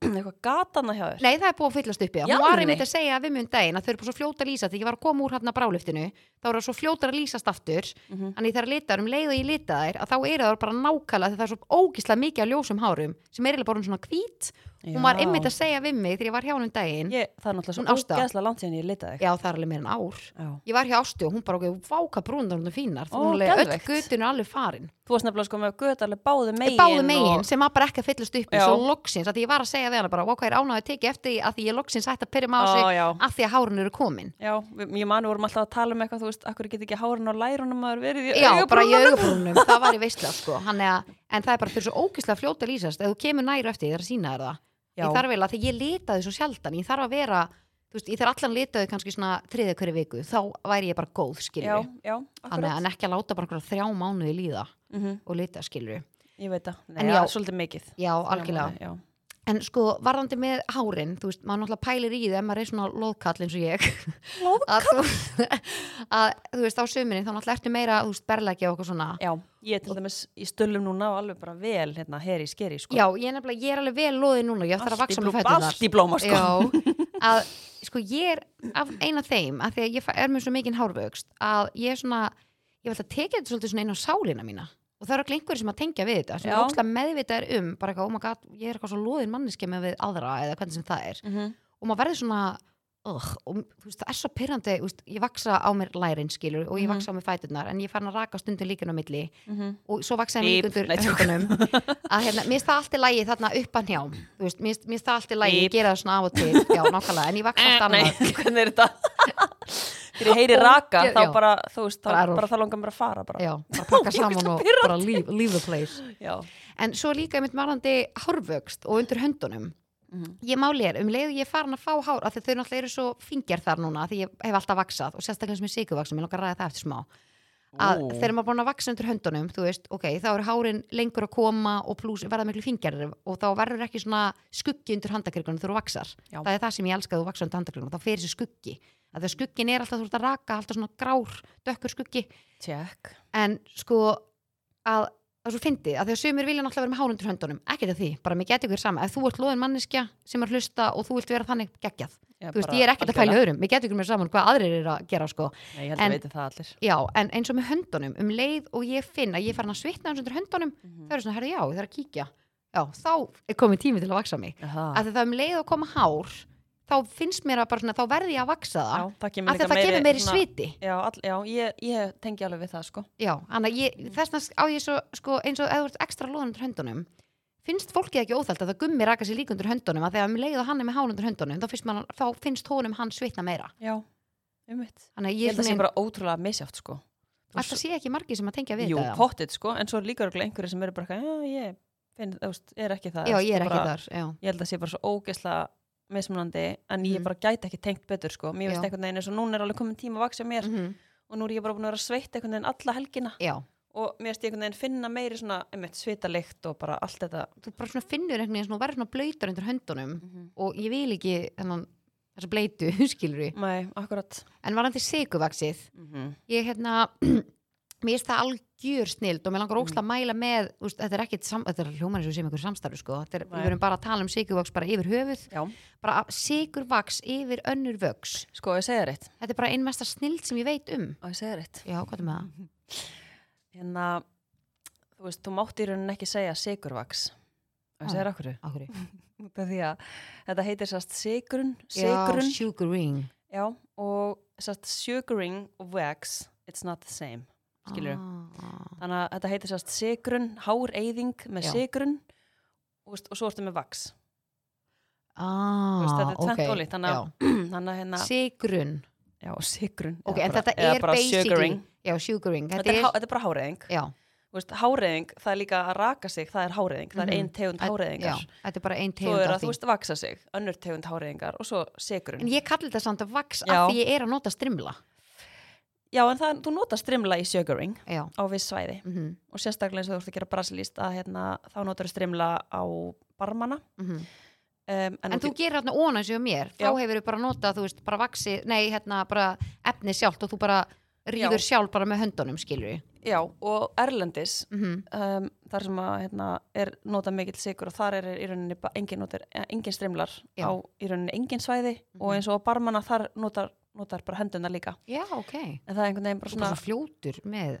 S2: eitthvað gatana hjá þér?
S1: Nei, það er búið að fyllast upp í það.
S2: Í
S1: Hún var
S2: alvörunni?
S1: einmitt að segja við mig um daginn að þau eru bara svo fljóta að lýsa þegar ég var að koma úr hann að bráluftinu. Þá eru það svo fljótar að lýsast aftur.
S2: Mhm.
S1: Þannig þegar litaðar um leiðu ég lita þær að þá eru það bara nákvæmlega þegar það er svo ógislega mikið af ljósum hárum sem er eiginlega bara orðin svona hvít. Hún var
S2: Já.
S1: einmitt að segja við mig þegar ég var hjá hún um daginn.
S2: Ég, það er náttúrulega
S1: Hún
S2: svo
S1: Ásta.
S2: ógeðslega langt síðan ég leitaði þig.
S1: Já, það er alveg meira en ár.
S2: Já.
S1: Ég var hjá Ástu og hún bara okkur váka brúndar hún er fínar.
S2: Ó,
S1: Hún er alveg- öll
S2: geðveikt.
S1: götin er alveg farin.
S2: Þú varst nefnilega sko með göðarlega báðu megin.
S1: báðu megin
S2: og-
S1: sem var bara ekki að fyllast upp í
S2: Já.
S1: svo loksins, að því ég var að segja við hana bara "Vá, hvað er ánáðið að teki eftir því að því ég loksins hætti að pyrja maður
S2: Ó,
S1: sig
S2: já.
S1: að því að hárun eru komin
S2: Já, við- ég manu vorum alltaf að tala um eitthvað, þú veist, akkur get ekki hárun og lærunum að verið í
S1: Já, bara í
S2: augabrúnunum?
S1: augabrúnum, það var í veistla sko. Hann er að, en það er bara fyrir svo ógislega fljóta að lýsast, ef þú kemur næru eftir, ég þarf að sína þér það
S2: Já.
S1: ég þarf vel að því ég litaði svo sjaldan ég þarf að vera, þú veist, ég þarf allan litaði kannski svona þriðið hverju viku, þá væri ég bara góð
S2: Já,
S1: skilur,
S2: já,
S1: þannig
S2: akkurat.
S1: að en ekki að láta bara einhverja þrjá mánuði líða
S2: Mhm.
S1: og lita skilur,
S2: Ég veit það.
S1: En
S2: Nei, já,
S1: já.
S2: svolítið mikið.
S1: já, algjörlega
S2: Já,
S1: En sko, varðandi með hárin, þú veist, maður náttúrulega pælir í það ef maður er svona loðkall eins og ég. Loðkall? að, þú veist, á sömurinn þá náttúrulega ertu meira, þú veist, berlegja og eitthvað svona.
S2: já, ég til dæmis í stöllum núna og alveg bara vel hérna, heri í skeri, sko.
S1: Já, ég er nefnilega, ég er alveg vel loðið núna, ég ætla að
S2: Allt í
S1: vaksa með
S2: bló-
S1: fættunar.
S2: Allt í blóma, sko.
S1: Já, að, sko, ég er af eina þeim, að því að ég fæ- er með svo mikinn hárvöxt, að ég er svona, ég veldi að tekja þetta svolítið svona inn á sálina mína. Og það eru ekki einhverjum sem að tengja við þetta, sem
S2: Já.
S1: er ókslega meðvitaðir um, bara eitthvað, oh my god, ég er eitthvað svo loðin manneskja með við aðra eða hvernig sem það er.
S2: Mhm.
S1: og maður verður svona oh, og, þú veist, það er svo pyrrandi veist, ég vaksa á mér lærin skilur og ég
S2: Mhm.
S1: vaksa á mér fæturnar en ég fann að raka stundum líkan á milli
S2: Mhm.
S1: og svo vaksa ég mér
S2: Bíp,
S1: líka
S2: nei,
S1: undir
S2: tjók.
S1: höndunum að hérna, mér finnst það allt í lægi þarna upp að njá þú veist, mér finnst- mér finnst það allt í lægi, ég
S2: Bíp.
S1: gera það svona af og til já, nákvæmlega, en ég vaksa allt
S2: Eh, Nei,
S1: annað
S2: hvernig er þetta? Þegar ég heyri raka,
S1: Ógeð-
S2: þá
S1: já.
S2: bara, þú veist, þá
S1: Bara error.
S2: bara þá langar mér að fara bara.
S1: já, bara pakka saman og bara leave, leave the place
S2: Já.
S1: en svo líka einmitt marandi hárvöxt og undir höndunum
S2: Mhm.
S1: ég máli er, um leiðu ég er farin að fá hár af því þau náttúrulega eru svo fingjar þar núna af því ég hef alltaf vaksað og sérstaklega sem ég sigurvaksum, ég langar að ræða það eftir smá að
S2: Ú.
S1: þegar maður er búin að vaksa undir höndunum þú veist, ok, þá eru hárin lengur að koma og pluss verða miklu fingjarðir og þá verður ekki svona skuggi undir handakrikunum þegar þú vaksar
S2: Já.
S1: það er það sem ég elska að þú vaksa undir handakrikunum þá fer þessi skuggi, að þegar skuggin er alltaf þú ert að raka, alltaf svona grár, dökkur skuggi
S2: Tjekk.
S1: en sko að það er svo fyndið að því að sumir vilja náttúrulega vera með hár undir höndunum ekkert að því, bara mér geti ykkur sama ef þú ert loðin manneskja sem er að hlusta og þú vilt vera þannig geggjað, þú veist, ég er ekkert að pæla í öðrum mér geti ykkur mér saman hvað aðrir eru að gera sko
S2: Nei, ég held
S1: En-
S2: að veiti það allir.
S1: já, en eins og með höndunum, um leið og ég finn að ég er farin að svitna eins undir höndunum
S2: Mhm.
S1: það eru svona, herri já, ég þarf að kíkja já, þá er komið tími til að vaksa mig
S2: Það,
S1: að því það um leið og koma hár þá finnst mér að bara svona, þá verði ég að vaksa það
S2: já, það kemur
S1: að
S2: líka
S1: þetta kemur meiri
S2: svona-
S1: sviti
S2: Já, all, já ég, ég tengi alveg við það, sko.
S1: Já, þannig að ég,
S2: Mm.
S1: þess vegna á ég svo, sko, eins og eða þú ert ekstra loðan undir höndunum finnst fólkið ekki óþælt að það gummi raka sér líka undir höndunum að þegar um leið og hann er með hán undir höndunum þá finnst, man, þá finnst honum hann svitna meira
S2: Já, um mitt.
S1: þannig
S2: Ég
S1: að ég,
S2: held að það sé
S1: ég
S2: bara ótrúlega misjátt, sko. Þú
S1: alltaf sé ekki margir sem að tengja við
S2: Jú,
S1: þetta
S2: pottit, sko, en svo er líka örugglega einhverjir sem eru bara eitthvað, já, ég finn, þú veist, er ekki það.
S1: Já,
S2: þú veist,
S1: ég er
S2: og
S1: ekki
S2: bara,
S1: þar já.
S2: Ég held að það sé bara svo ógeðslega mismunandi, en ég
S1: Mhm.
S2: bara gæti ekki tengt betur, sko. Mér veist
S1: Já.
S2: einhvern veginn eins og núna er alveg komin tíma að vaksa mér
S1: Mm
S2: og nú er ég bara búin að vera sveitt einhvern veginn alla helgina
S1: já,
S2: og mér veist ég einhvern veginn finna meiri svona, einmitt, svitalikt og bara allt þetta.
S1: þú bara svona finnur einhvern veginn svona og verður svona blöytar undir höndunum og ég vil ekki þennan þessa bleitu, skilur við
S2: Nei, akkurat.
S1: en varandi sikuvaksið ég hérna mér finnst það algjör snild og mér
S2: Mm.
S1: langar ógst að mæla með úst, þetta er ekkit, sam, þetta er hljóman eins og við séum ykkur samstarfi sko, þetta er,
S2: Nei.
S1: við verum bara að tala um sigurvaks bara yfir höfuð,
S2: Já,
S1: bara sigurvaks yfir önnur vöks,
S2: sko, ég segja rétt.
S1: þetta er bara einmesta snild sem ég veit um,
S2: Og ég segja rétt.
S1: já, hvað er með
S2: Mhm.
S1: það?
S2: Hérna, þú veist, þú mátt í rauninni ekki segja sigurvaks. Og ég segja
S1: Ah.
S2: rétt okkur.
S1: Af hverju?
S2: Út af því að þetta heitir sérst sigurinn,
S1: Já,
S2: sigurinn,
S1: sugaring
S2: já, og sérst sugaring og wax, it's not the same. Skilurðu?
S1: ah,
S2: Þannig að þetta heitir sérst sigurinn, háreyðing með
S1: Já.
S2: sigurinn og, veist, og svo ertu með vaks.
S1: ah,
S2: Þú veist, þetta er tvennt
S1: ok,
S2: ólíkt, þannig
S1: já.
S2: Þannig að hérna,
S1: Sigrun
S2: já, sigurinn.
S1: ok,
S2: eða
S1: en
S2: bara-
S1: þetta
S2: eða
S1: er
S2: bara
S1: basically
S2: sugaring.
S1: já, sugaring,
S2: Þetta er, há- þetta er bara háreyðing.
S1: já,
S2: Þú veist, háreyðing, það er líka að raka sig, það er háreyðing, það er
S1: Mhm.
S2: ein tegund
S1: já,
S2: háreyðingar.
S1: þetta er bara ein
S2: Svo
S1: tegund
S2: er
S1: af
S2: að, þú
S1: því
S2: veist, vaksa sig, önnur tegund háreyðingar og svo
S1: en
S2: sigurinn.
S1: ég kalli þetta samt að vaks
S2: Já.
S1: af því ég er að nota strimla
S2: Já, en það, þú notar strimla í sugaring
S1: já,
S2: á viss svæði
S1: mhm mm
S2: og sérstaklega eins og þú ert að gera brasilíst að hérna, þá notar þú strimla á barmana um,
S1: mhm. En, þú gerir hérna óna eins og mér, þá
S2: Já.
S1: hefur við bara notað, þú veist, bara vaksi, nei, hérna, bara efni sjálft og þú bara rýður sjálf bara með höndunum, skilur við.
S2: Já, og Erlendis
S1: Mm
S2: um, þar sem að hérna, er notað mikill sigur og þar er í rauninni bara engin, notar, eh, engin strimlar
S1: Já.
S2: á í rauninni engin svæði
S1: Mhm.
S2: og eins og á barmana þar notar, notar bara henduna líka
S1: Já, ok. Svona,
S2: en það er einhvern veginn bara
S1: svona
S2: svona
S1: fljótur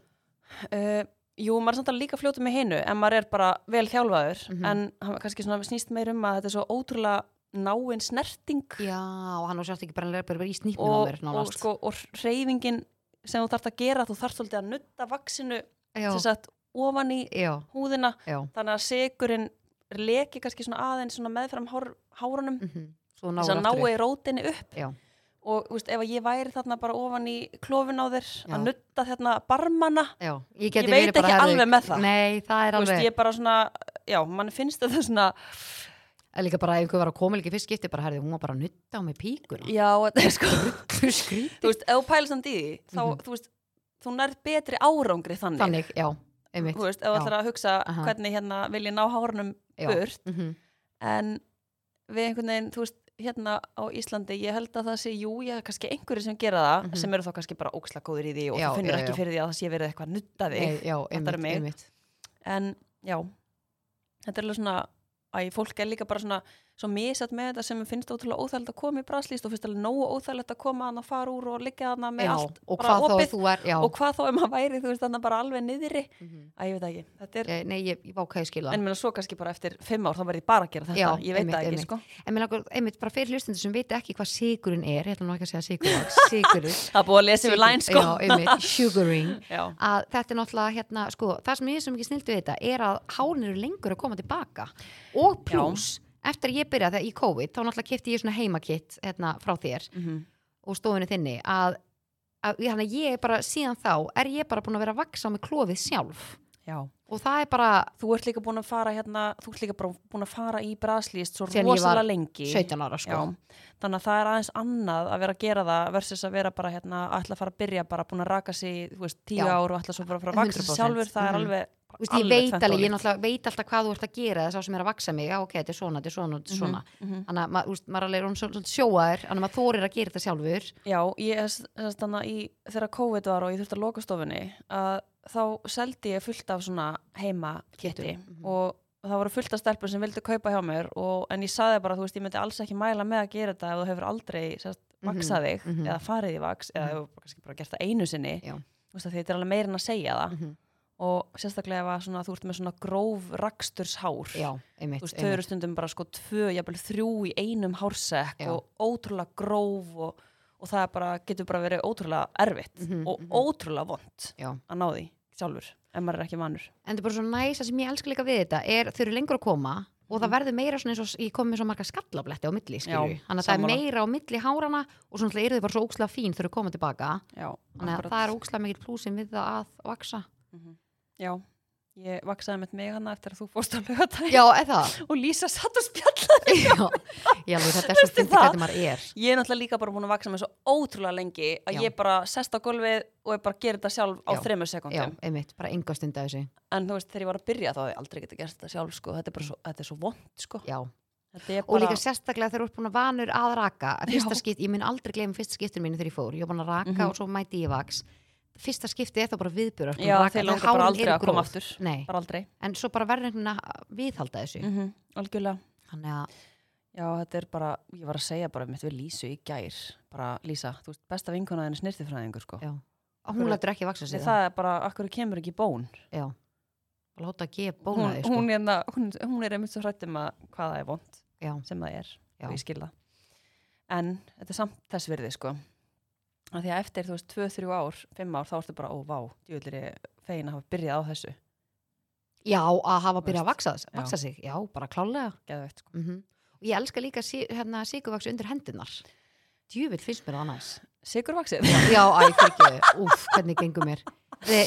S1: með,
S2: uh, Jú, maður er samt að líka fljótu með hinu en maður er bara vel þjálfaður
S1: Mhm.
S2: en hann kannski svona snýst meir um að þetta er svo ótrúlega náin snerting
S1: já, og hann á sjátt ekki bara að bara í snýpnum á
S2: og,
S1: mér,
S2: og,
S1: nánast.
S2: sko, og reyfingin sem þú þarft að gera þú þarft svolítið að nutta vaksinu
S1: já,
S2: sem sagt ofan í
S1: já,
S2: húðina
S1: já.
S2: þannig að sigurinn leki kannski svona aðeins svona meðfram hár, hárunum
S1: Mm -hmm. Svo náður
S2: þess að
S1: aftur upp.
S2: nái rótinni upp
S1: Já.
S2: og þú veist, ef að ég væri þarna bara ofan í klófin á þér
S1: Já.
S2: að nutta þarna barmana
S1: Já, ég geti
S2: Ég veit
S1: verið bara
S2: ekki
S1: herðu-
S2: alveg með það.
S1: Nei, það er
S2: þú
S1: alveg,
S2: veist, ég bara svona já, mann finnst þetta svona
S1: en líka bara ef einhver var að koma líka fyrst skipti bara herði, hún var bara að nutta á mig píkuna.
S2: já, þetta er sko
S1: Þú skrýt.
S2: þú veist, ef þú pælist hann í því þá,
S1: Mhm.
S2: þú veist, þú nærð betri árangri þannig,
S1: Þannig, já, einmitt.
S2: þú veist, ef þú
S1: Já.
S2: ætlar að hugsa
S1: Aha.
S2: hvernig hérna vil ég ná hárunum
S1: Já.
S2: burt
S1: Mm
S2: en við einhvern veginn, þú veist, hérna á Íslandi, ég held að það sé, jú, ég er kannski einhverju sem gera það,
S1: Mhm.
S2: sem eru þá kannski bara óksla góður í því og
S1: Já,
S2: þú finnur
S1: já,
S2: ekki
S1: já.
S2: fyrir því að það sé verið eitthvað að nutta þig,
S1: Nei, já,
S2: Fattar
S1: einmitt,
S2: mig?
S1: einmitt.
S2: en já, þetta er alveg svona að fólk er líka bara svona svo misat með þetta sem mér finnst ótrúlega óþægilegt að koma í braslýst og finnst alveg nógu óþægilegt að koma að fara úr og liggja þarna með
S1: Já,
S2: allt
S1: og
S2: bara
S1: hvað þá
S2: opið
S1: að þú er, já.
S2: og hvað þá ef maður væri, þú veist, þarna bara alveg niðri
S1: Mhm.
S2: að ég veit það ekki, þetta er,
S1: Eh, Nei, ég, ég vákaði skila.
S2: en
S1: En,
S2: mér svo kannski bara eftir fimm ár þá verði ég bara að gera þetta,
S1: Já,
S2: ég veit
S1: einmitt,
S2: það ekki,
S1: einmitt.
S2: sko
S1: en mér langar, einmitt, bara fyrir hlustundur sem vita ekki hvað sigurinn er, ég ætla nú ekki að segja sigurvaks, sigurinn.
S2: það er búið að lesa yfir læn, sko
S1: Já, einmitt, sugaring.
S2: já.
S1: Að þetta er náttúrulega, hérna, sko, það sem ég er svo mikið snildu við þetta er að hárin eru lengur að koma tilbaka. Og pluss, eftir að ég byrjaði þegar í COVID, þá náttúrulega kefti ég svona heimakitt, hérna, frá þér og stofinu þinni, að, að, þannig að ég er bara, síðan þá, er ég bara búin að vera að vaksa á mig klófið sjálf.
S2: já.
S1: og það er bara
S2: Þú ert líka búin að fara hérna, þú ert líka bara búin að fara í braslist svo
S1: Síðan ég var
S2: rosalega lengi.
S1: 17 ára sko
S2: Já, þannig að það er aðeins annað að vera að gera það versus að vera bara hérna, ætla að fara að byrja bara búin að raka sig, þú veist, tíu
S1: Já.
S2: ár og ætla svo bara að fara að vaksa sig
S1: 100%.
S2: sjálfur, það er
S1: Mhm.
S2: alveg,
S1: Þú veist, ég
S2: alveg
S1: veit
S2: tvennt
S1: alveg, ég
S2: ólíkt.
S1: náttúrulega veit alltaf hvað þú ert að gera það er sá sem er að vaksa mig, já ok, þetta er svona, þetta er svona, þetta er svona
S2: Mhm.
S1: þannig að maður, úst, maður alveg er alveg svona sjóaður þannig að maður þorir að gera þetta sjálfur
S2: Já, ég er þannig í þegar COVID var og ég þurfti að loka stofunni að þá seldi ég fullt af svona heima
S1: Kittum,
S2: kiti
S1: mhm.
S2: og það voru fullt af stelpur sem vildu kaupa hjá mér og, en ég saði bara, þú veist, ég myndi alls ekki mæla með að gera þetta ef þú hefur aldrei sérst,
S1: Mhm,
S2: vaksað þig
S1: mhm.
S2: eða farið í vaks eða hefur kannski bara gert það einu sinni
S1: Já.
S2: Þú veist, af því þetta er alveg meira en að segja það
S1: Mhm.
S2: og sérstaklega ef að svona, þú ert með svona gróf raksturshár
S1: já,
S2: þú
S1: einmitt,
S2: veist, þau eru stundum bara sko tvö, jafnvel þrjú í einum hársekk
S1: Já.
S2: og ótrúlega gróf og, og það er bara, getur bara verið ótrúlega erfitt
S1: Mhm,
S2: og
S1: mhm.
S2: ótrúlega vond
S1: Já.
S2: að ná því sjálfur, ef maður er ekki vanur.
S1: en þetta er bara svo næs að sem ég elska líka við þetta er þau eru lengur að koma og það verður meira svona eins og ég kom með svo marga skallabletti á milli
S2: Mhm.
S1: skilju,
S2: Já,
S1: þannig að það er
S2: sammála.
S1: meira á milli hárana og svona eru þau bara svo ókslega fín þau eru koma tilbaka,
S2: Já,
S1: þannig að það er ókslega mikil plúsin við það að vaksa
S2: Mhm. Já, ég vaksaði með mig hana eftir að þú fórst á lögatæk
S1: já, eða,
S2: og Lísa satt og spjallaði.
S1: já, já alveg, þetta er svo
S2: Veistu
S1: fyndið
S2: það?
S1: hvernig maður er
S2: Ég er náttúrulega líka bara búin að vaksa með svo ótrúlega lengi að
S1: Já.
S2: ég bara sest á gólfið og ég bara gerir þetta sjálf á
S1: Já.
S2: þreymur
S1: já,
S2: sekundum.
S1: einmitt, bara enga stund að þessu
S2: En þú veist, þegar ég var að byrja þá hef ég aldrei getið gert þetta sjálf, sko. Þetta er bara svo, þetta er svo vond, sko.
S1: já,
S2: Þetta er
S1: og
S2: bara-
S1: líka sérstaklega þegar þú ert búin að vanur að raka að fyrsta
S2: Já.
S1: skipt, ég mun aldrei gleyma fyrsta skiptinu mínu þegar ég fór, ég var búin að raka
S2: Mhm.
S1: og svo mæti ég í vaks fyrsta skipti er það bara sko, viðbjör
S2: Já, þeir langar bara aldrei að koma aftur.
S1: Nei,
S2: Bara aldrei.
S1: en svo bara verður einhvern veginn að viðhalda þessu
S2: -hmm. Algjörlega.
S1: þannig að,
S2: Já, þetta er bara, ég var að segja bara mitt við Lísu í gær. Bara, Lísa, þú veist, besta vinkona þenni snirtifræðingur, sko.
S1: já Og
S2: Akkur-
S1: hún lætur ekki vaksa sig
S2: Þessi, það er bara, akkur kemur ekki í bón.
S1: já, að láta að gefa
S2: Hún,
S1: bóna þig sko.
S2: hún, hérna, hún, hún er einmitt svo hrætt um að hvað það er vond
S1: já,
S2: sem það er.
S1: Já.
S2: Og ég skil það. En þetta er samt þess virði, sko. Af því að eftir, þú veist, 2-3 ár, 5 ár, þá ertu bara, ó, vá, djúðlir ég fegin að hafa byrjað á þessu.
S1: já, að hafa byrjað að
S2: Veist,
S1: vaksa, vaksa sig já, bara klálega
S2: Geðveikt, sko.
S1: mm og ég elska líka sí, hérna, síkuvaks undir hendunar djúvill finnst mér það annars
S2: Sigurvaxið.
S1: Já, æ, fyrir ekki, úf, hvernig gengur mér The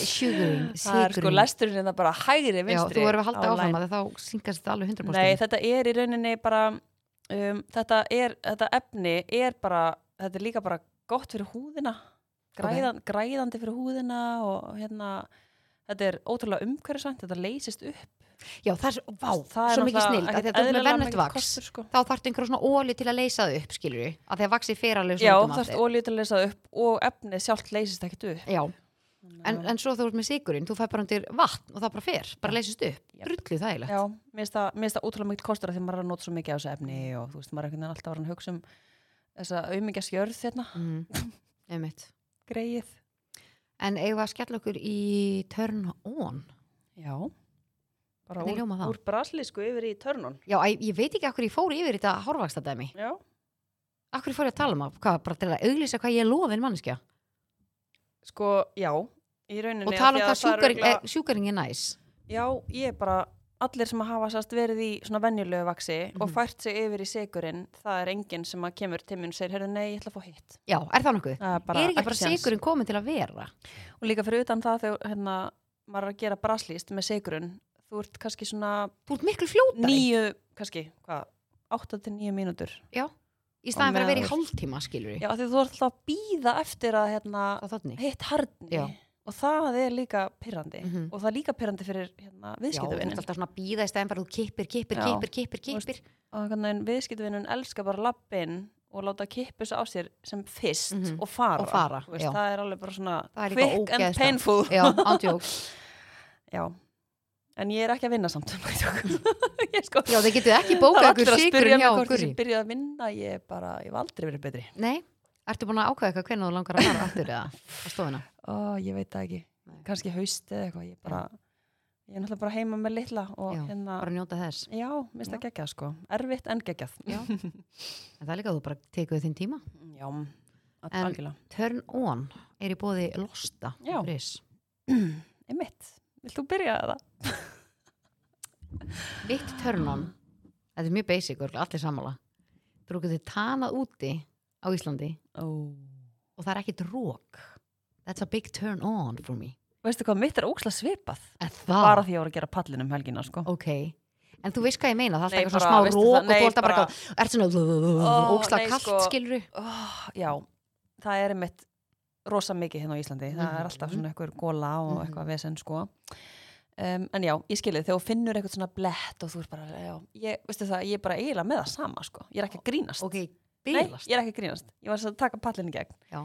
S2: Það
S1: sugaring,
S2: er sko
S1: sigurinn
S2: lesturinn en það bara hægri
S1: Já,
S2: vinstri.
S1: þú verður að halda
S2: á
S1: áfram
S2: line.
S1: að þá syngast þetta alveg 100%
S2: Nei, þetta er í rauninni bara um, þetta, er, þetta efni er bara, þetta er líka bara gott fyrir húðina græðan, græðandi fyrir húðina og hérna þetta er ótrúlega umhverfisvænt, þetta leysist upp
S1: Já, það er, svo- vá,
S2: það er
S1: svo mikið
S2: náttúrulega
S1: snild að
S2: ekkert
S1: þetta er með
S2: eðlilega
S1: vennlegt
S2: mikill
S1: vaks
S2: kostur, sko.
S1: þá þarftu einhverja svona óli til að leysa það upp, skilur við að því að vaksið fer alveg um
S2: Já,
S1: svona
S2: þú ert
S1: automatic.
S2: ólíu til að leysa það upp og efnið sjálft leysist ekkit upp
S1: Já, en, en svo þú ert með sigurinn þú fær bara undir vatn og það bara fer bara leysist upp,
S2: Jep.
S1: brullu þægilegt
S2: Já, mér finnst það, mér finnst það ótrúlega mikið kostur að því maður er að nota svo mikið á þessu efni
S1: Mm.
S2: og þú veist, maður er einhvern veginn alltaf að vera að hugsa um þessa aumingjasjörð hérna,
S1: mm. Einmitt.
S2: greið
S1: En eigum við að skella okkur í turn on
S2: Já, bara
S1: Hvernig
S2: úr,
S1: hljómar það?
S2: úr braslísku yfir í törnun
S1: Já, æ, ég veit ekki akkur ég fór yfir þetta hárvakstadæmi
S2: Já,
S1: Akkur fór ég að tala um að, hvað, bara til að auglýsa hvað ég er lofin mannskja
S2: sko, já í rauninni
S1: og
S2: af
S1: tala
S2: því að
S1: um hvað
S2: er
S1: sjúkaring,
S2: örugglega-
S1: regla... sjúkaring er næs
S2: Já, ég bara, allir sem hafa sast verið í svona venjulegu vaksi og
S1: Mhm.
S2: fært sig yfir í sigurinn það er enginn sem að kemur til minn og segir, heyrðu, nei, ég ætla að fá hitt
S1: Já, er það nokkuð?
S2: Það
S1: er ekki bara
S2: séns.
S1: sigurinn komin til að vera?
S2: Og líka fyrir utan það þegar hérna, maður er að gera braslíst með sigurinn þú ert kannski svona
S1: Þú ert miklu fljótari
S2: níu, kannski, hvað 8 til 9 mínútur
S1: í staðan fyrir að vera í
S2: Og meðan-
S1: hálftíma skilur
S2: Já, af því þú ert alltaf að býða eftir að hérna,
S1: Það þannig
S2: hitt harni
S1: Já.
S2: og það er líka pyrrandi
S1: Mhm.
S2: og það er líka pyrrandi fyrir hérna,
S1: Já, þú ert
S2: viðskiptavinnin
S1: alltaf svona að býða í staðan fyrir að þú kippir, kippir,
S2: Já.
S1: kippir, kippir,
S2: Þú veist-
S1: kippir
S2: og hvernig viðskiptavinnin elskar bara lappin og láta kippu svo á sér sem fyrst
S1: Mhm.
S2: og fara,
S1: Og fara,
S2: Þú veist,
S1: já.
S2: það er alveg bara svona
S1: Það er líka
S2: quick and
S1: ógeðslega.
S2: painful
S1: Já, ándjók
S2: já. en ég er ekki að vinna samt ég sko
S1: Já, þið getur ekki bókað
S2: það er
S1: ykkur
S2: allir að spyrja
S1: sigurinn hjá
S2: mig hvort
S1: okkur í
S2: ég byrja að vinna ég, er bara, ég hef aldrei verið betri
S1: Nei, ertu búin að ákvæða eitthvað hvernig þú langar að fara aftur eða á stofuna?
S2: Ó, ég veit það ekki,
S1: Nei.
S2: kannski haust eða eitthvað ég, er bara, ég er náttúrulega bara heima með litla og
S1: Já,
S2: hérna
S1: Bara njóta þess
S2: Já, mér finnst það geggjað sko. Erfitt en geggjað.
S1: Já. En það er líka að þú bara tekur þinn tíma
S2: Já, að-
S1: En-
S2: algjörlega.
S1: Turn on er í bóði Losta
S2: Já.
S1: Ris.
S2: Einmitt, vilt þú byrja það?
S1: Mitt turn on Þetta er mjög basic, örugglega, allir sammála Brúkið þið tanað úti á Íslandi
S2: Ó.
S1: og það er ekki drók That's a big turn on for me
S2: veistu hvað, mitt er óksla svipað
S1: En það,
S2: bara því ég voru að gera pallin um helgina sko.
S1: ok En þú veist hvað ég meina, það
S2: Nei,
S1: er alltaf eitthvað
S2: bara,
S1: svona smá
S2: veistu
S1: rók
S2: það,
S1: og
S2: nei,
S1: þú alltaf bara
S2: bara-
S1: eitthvað, ert svona
S2: Ó,
S1: óksla
S2: nei,
S1: kalt
S2: sko.
S1: skiluru
S2: oh, já, það er einmitt rosa mikið hérna á Íslandi það er alltaf
S1: Mhm.
S2: svona eitthvað góla og
S1: Mhm.
S2: eitthvað vesen sko um, en já, ég skilið þegar þú finnur eitthvað svona blett og þú er bara, já, ég, veistu það ég er bara eiginlega með það sama sko, ég er ekki að grínast
S1: Ok,
S2: Nei,
S1: bílast
S2: ég er ekki að grínast, ég var að taka pallin í gegn
S1: Já.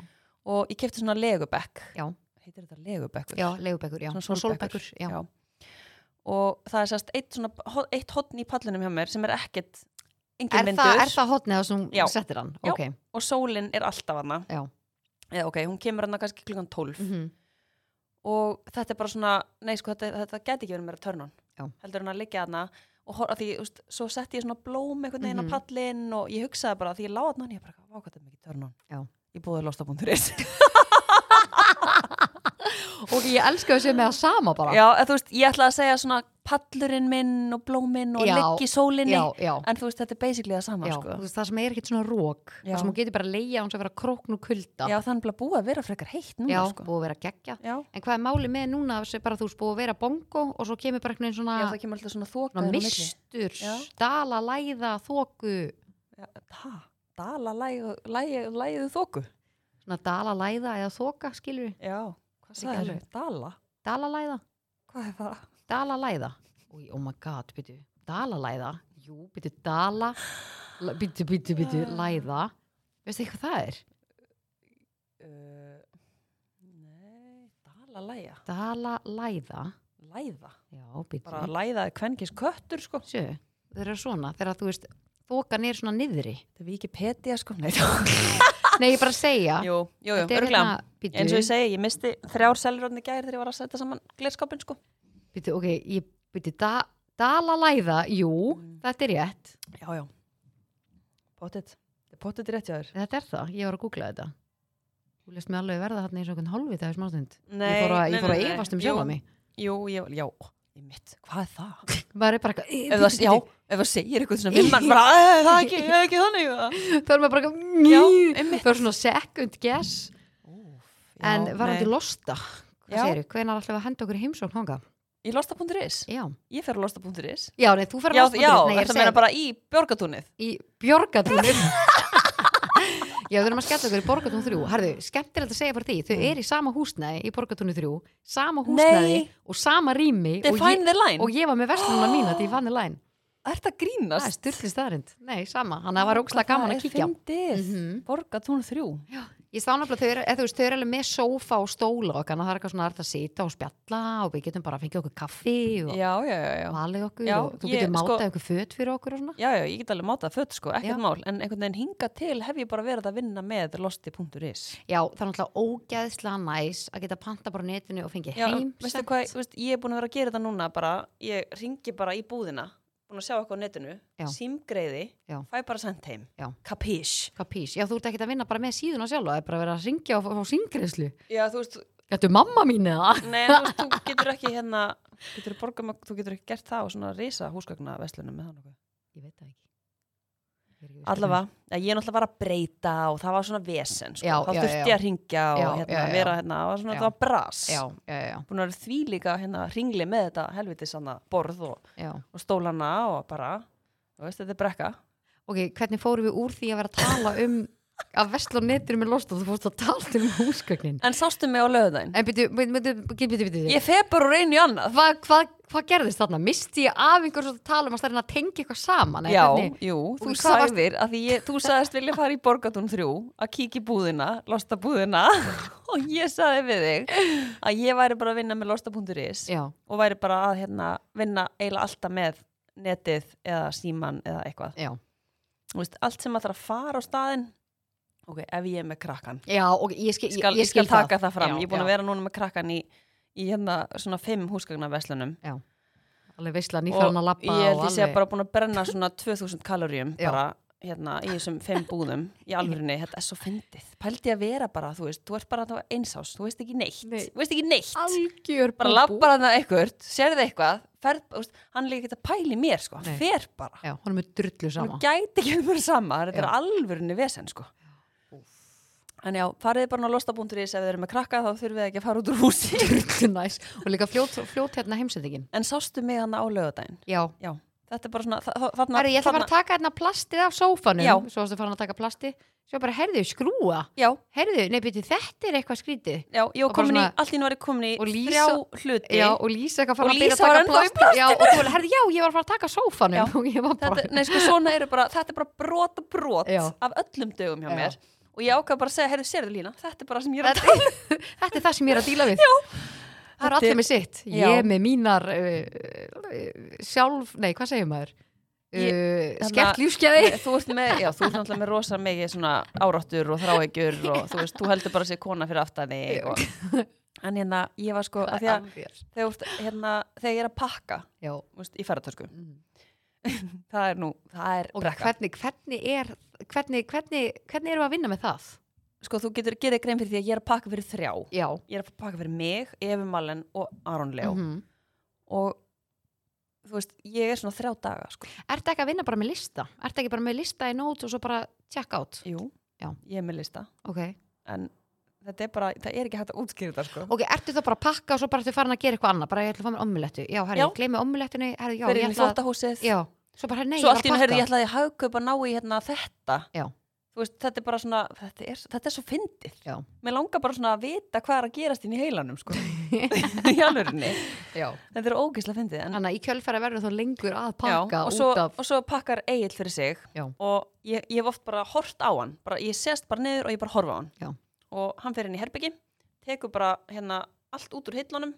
S2: og ég kefti svona legubekk
S1: Já.
S2: heitir þetta legubekkur?
S1: Já, legubekkur, já,
S2: Svona
S1: svona
S2: sólbekkur.
S1: sólbekkur Já,
S2: Já. og það er sérst eitt, svona, ho- eitt hotn í pallinum hjá mér sem er ekkert engin
S1: Er,
S2: myndur
S1: það, er það hotnið það sem
S2: Já.
S1: þú settir hann?
S2: Já.
S1: Ok,
S2: og sólinn er alltaf hana
S1: Já.
S2: eða ok, hún kemur hana kannski klukkan 12
S1: mhm,
S2: og þetta er bara svona, nei sko þetta, þetta geti ekki verið meira törnun,
S1: Já.
S2: heldur hann að liggja hana og horf, því, úst, svo setti ég svona blóm einhvern veginn á
S1: Mhm.
S2: pallinn og ég hugsaði bara því ég láði hann, ég bara, vá hvað þetta er mikið törnun
S1: Já.
S2: ég búið losta.is
S1: Ok, ég elska þessi með það sama bara
S2: já, eða, þú veist, ég ætlaði að segja svona pallurinn minn og blóminn og
S1: Já.
S2: liggi sólinni,
S1: já, já,
S2: en þú veist, þetta er basically það sama,
S1: já.
S2: sko
S1: Þú veist, Það sem er ekkert svona rók
S2: Já.
S1: Það sem hún getur bara að leia hans að vera krókn og kulda
S2: já, þannig að búið að vera frekar heitt núna,
S1: já
S2: sko
S1: búið að vera geggja
S2: já.
S1: En hvað er málið með núna sem bara þú veist búið að vera bongo og svo kemur bara einhvern veginn svona,
S2: já, það kemur alltaf svona þoka
S1: Ah. svona
S2: inn á milli.
S1: mistur,
S2: Já.
S1: dala, læða, þóku
S2: Já, Hæ? Dala lægðu læg, læg, þóku?
S1: svona dala, læða eða þóka skilur við,
S2: Já, hvað
S1: sagðirðu?
S2: sagðið? Dala?
S1: dala, læða,
S2: Hvað er það?
S1: dala, læða Új, oh my god, byrju, dala, læða Jú, byrju, dala la- byrju, byrju, byrju,
S2: Ah.
S1: læða Veistu eitthvað það er?
S2: Uh, nei, dala lægja.
S1: Dala, læða
S2: Læða.
S1: Já, byrju
S2: Bara læða er kvenkins köttur, sko.
S1: Sjö, þeir eru svona, þegar þú veist þókan er svona niðri
S2: Það er Wikipedia, sko. Nei,
S1: Nei, ég bara að segja
S2: jú, jú, jú,
S1: Þetta er
S2: örgulega.
S1: hérna, bíddu,
S2: Eins og ég segi, ég misti þrjár selurotni gæri þegar ég var að setja saman glerskapin, sko.
S1: bíddu, ok, ég byrju da, dalalæða, jú,
S2: Mm.
S1: þetta er rétt
S2: Já, já. Pottit. Pottit er rétt hjá þér.
S1: Þetta er það, ég var að googla þetta Þú lest mér alveg verða þarna í svona hálfi þegar smástund
S2: Nei,
S1: Ég fór að,
S2: nei,
S1: ég fór að
S2: nei, nei.
S1: efast um
S2: Jú,
S1: sjálfa mig
S2: Jú, ég, já, ég mitt, hvað er það?
S1: Maður er bara eitthvað, eh,
S2: ef það,
S1: bíddu,
S2: já,
S1: bíddu.
S2: ef það segir eitthvað svona við mann bara, "Eh, það er ekki, það er ekki þannig eða?"
S1: Þá er maður bara
S2: Já,
S1: eitthvað
S2: einmitt.
S1: Það er svona second guess
S2: Já,
S1: En varandi
S2: nei.
S1: losta Hvað
S2: Já.
S1: segirðu, hvenær ætlum við að henda okkur í heimsókn hanga?
S2: í losta.is,
S1: Já,
S2: ég fer á losta.is
S1: já, nei, þú fyrir
S2: já, já,
S1: nei, ég
S2: þetta
S1: er að segja
S2: meina bara í björgatúnið
S1: í Björgatúnum Já, við erum að skella okkur í Borgatún 3 Herðu, skemmtilegt að segja fyrir því Þau eru í sama húsnæði í Borgatún 3 Sama húsnæði
S2: Mm. Nei.
S1: og sama rými
S2: they
S1: og
S2: find
S1: ég,
S2: the line,
S1: og ég var með verslununa mína því ég fann í læn
S2: er þetta
S1: Það er
S2: grínast?
S1: styrlist staðrind Nei, sama, hann var ógslag gaman að kíkja Mhm.
S2: Borgatún 3
S1: Ég stá nefnilega, þau eru, eða þú veist, þau eru alveg með sófa og stóla og kannar það er eitthvað svona hægt að sita og spjalla og við getum bara að fengja okkur kaffi og
S2: já, já, já, já
S1: valið okkur
S2: Já,
S1: og þú
S2: ég-
S1: getur mátað
S2: sko-
S1: sko... okkur föt fyrir okkur og svona
S2: Já, já, ég get alveg mátað fött sko,
S1: Já.
S2: ekkert mál, en einhvern veginn hinga til hef ég bara verið að vinna með losti.is
S1: Já, það er náttúrulega ógæðslega næs að geta panta bara á netinu og fengið
S2: Já,
S1: heim
S2: veistu hvað, þú veist, ég er búin að vera að gera þetta núna bara, ég ringi bara í búðina búin að sjá eitthvað á netinu,
S1: Já.
S2: símgreiði
S1: Já.
S2: fæ bara sendt heim,
S1: Já.
S2: kapís
S1: Hvað pís? Já, þú ert ekki að vinna bara með síðuna sjálf það er bara að vera að ringja og fá- fá syngriðslu
S2: Já, þú veist,
S1: Gætu mamma mín eða?
S2: nei, en þú veist, þú getur ekki hérna, getur borga, með- þú getur ekki gert það á svona risa húsgagnaveslunum með þannig
S1: Ég veit það ekki. Ég er ekki. viss.
S2: allavega, ja, ég er náttúrulega var að breyta og það var svona vesen, sko,
S1: Já,
S2: þá
S1: já,
S2: þurfti
S1: já.
S2: ég að ringja og
S1: Já,
S2: hérna,
S1: já, já.
S2: vera hérna, það var svona,
S1: Já.
S2: það var bras
S1: Já, já, já,
S2: búin að vera því líka hérna ringli með þetta helviti sanna borð og,
S1: já.
S2: og stólana og bara, þú veist, þetta er brekka
S1: Ok, hvernig fórum við úr því að vera að tala um að vesla á netinu með lost og þú fórst að tala um húsgögnin
S2: En sástu mig á löðaðin?
S1: En byrju, byrju, byrju, byrju, byrju, byrju.
S2: Ég feg bara úr einu í annað.
S1: Hvað hva, hva gerðist þarna? Misti ég af einhver svo tala um að stærna að tengja eitthvað saman? eða
S2: Já,
S1: hvernig?
S2: jú, þú
S1: Og hvað varst-
S2: sagðir að því ég, þú sagðist vilja fara í Borgatún 3 að kíkja í búðina, losta búðina og ég sagði við þig að ég væri bara að vinna með losta.is
S1: Já,
S2: og væri bara að hérna, vinna eiginlega alltaf með netið eða síman eða eitthvað.
S1: já.
S2: Þú veist, allt sem að það er að fara á staðinn, ok, ef ég er með krakkan,
S1: Já, og ég skil,
S2: skal,
S1: ég, ég skil
S2: skal taka það fram.
S1: Já,
S2: ég er búin
S1: já.
S2: að vera núna með krakkan í, í hérna svona fimm húsgagnaverslunum
S1: Alveg veisla, nýfæðan að lappa
S2: ég held ég sé bara búin að brenna svona 2000 kaloríum
S1: Já.
S2: bara hérna í þessum fimm búðum í alvörinni, þetta er svo fyndið pældi að vera bara, þú veist, þú ert bara þarna einsás þú veist ekki neitt,
S1: Nei.
S2: þú veist ekki neitt
S1: Algjör
S2: bara
S1: búbú.
S2: lappar hann að eitthvað, sérði eitthvað ferð, þú veist, hann líka geta pæli mér sko,
S1: Nei.
S2: hann fer bara
S1: Já, honum er drullu sama
S2: hann gæti ekki verið sama, þetta
S1: Já.
S2: er alvörinni vesen sko En já, fariði bara á losta.is ef þið eru með krakka þá þurfið þið ekki að fara út úr húsi.
S1: Næs. og líka fljót, fljót hérna heimsendingin
S2: En sástu mig hann á lögadaginn?
S1: já,
S2: Já, þetta er bara svona, þa- þa- þarna...
S1: herri, ég ætla bara
S2: þarna-
S1: að taka hérna plastið af sófanum
S2: Já.
S1: svo varstu farin að taka plasti svo bara, herðu, skrúa
S2: Já,
S1: herðu, nei, byrju, þetta er eitthvað skrítið
S2: já, ég var
S1: Og bara
S2: komin í,
S1: svona-
S2: allt í nú var ég komin í
S1: Og Lísa-
S2: þrjá hluti.
S1: Já, og Lísa
S2: Og
S1: eitthvað fara að byrja
S2: Lísa
S1: að taka
S2: var ennþá í
S1: plast já, og þú er, herði, já, ég var að fara að taka sófanum
S2: Já.
S1: og ég var bara,
S2: þetta, nei, sko, svona eru bara, þetta er bara brot og brot
S1: Já.
S2: af öllum dögum hjá
S1: Já.
S2: mér. Og ég ákvað bara að segja, heyrðu, sérðu Lína, þetta er bara sem ég er að
S1: þetta, þetta er það sem ég er að díla við já. það er
S2: Þetta er-
S1: allir með sitt
S2: Já.
S1: ég með mínar uh, uh, sjálf, nei, hvað segir maður uh,
S2: þarna-
S1: skert lífskeiði
S2: Þú ert með, já, þú ert náttúrulega með rosa mikið svona áráttur og þráegjur og þú veist, þú heldur bara sér kona fyrir aftan þig og... En hérna, ég var sko, af því að
S1: já,
S2: þegar, þú ert, hérna, þegar ég er að pakka, þú veist, í ferðartösku, það er nú, það er
S1: og
S2: brekka.
S1: hvernig, hvernig er hvernig, hvernig, hvernig erum við að vinna með það
S2: Sko, þú getur gerðið grein fyrir því að ég er að pakka fyrir þrjá.
S1: já,
S2: Ég er að pakka fyrir mig, Efi Malen og Aron Leo.
S1: Mhm.
S2: Og, þú veist, ég er svona þrjá daga, sko.
S1: ertu ekki að vinna bara með lista ertu ekki bara með lista í nót og svo bara check out
S2: Jú,
S1: Já.
S2: ég er með lista.
S1: ok,
S2: En þetta er bara, það er ekki hægt að útskýra þetta, sko.
S1: Ok, ertu þá bara að pakka og svo bara ertu farin að gera eitthvað annað bara ég ætla að fá mér ommulettu, já, herri,
S2: Já.
S1: ég gleymi ommulettunni herri, já,
S2: Fyrir
S1: ég
S2: inn í
S1: ætla að,
S2: þvóttahúsið.
S1: já svo bara, herri, nei,
S2: svo allt
S1: ég
S2: í henni
S1: var
S2: heyrði
S1: að
S2: ég
S1: pakka
S2: ætlaði haugkaup að ná í hérna þetta
S1: Já.
S2: þú veist, þetta er bara svona, þetta er, þetta er svo fyndið
S1: Já.
S2: mér langar bara svona að vita hvað er að gerast inn í heilanum sko. í alvörinni,
S1: já.
S2: þetta er ógislega fyndið en,
S1: þannig að í kjölfæra verður þú lengur að
S2: já,
S1: pakka
S2: og, svo,
S1: út af
S2: og svo pakkar Egil fyrir sig
S1: Já.
S2: og ég, ég hef oft bara hort á hann bara, ég sest bara niður og ég bara horfa á hann
S1: Já.
S2: og hann fer inn í herbyggi tekur bara hérna allt út úr hillunum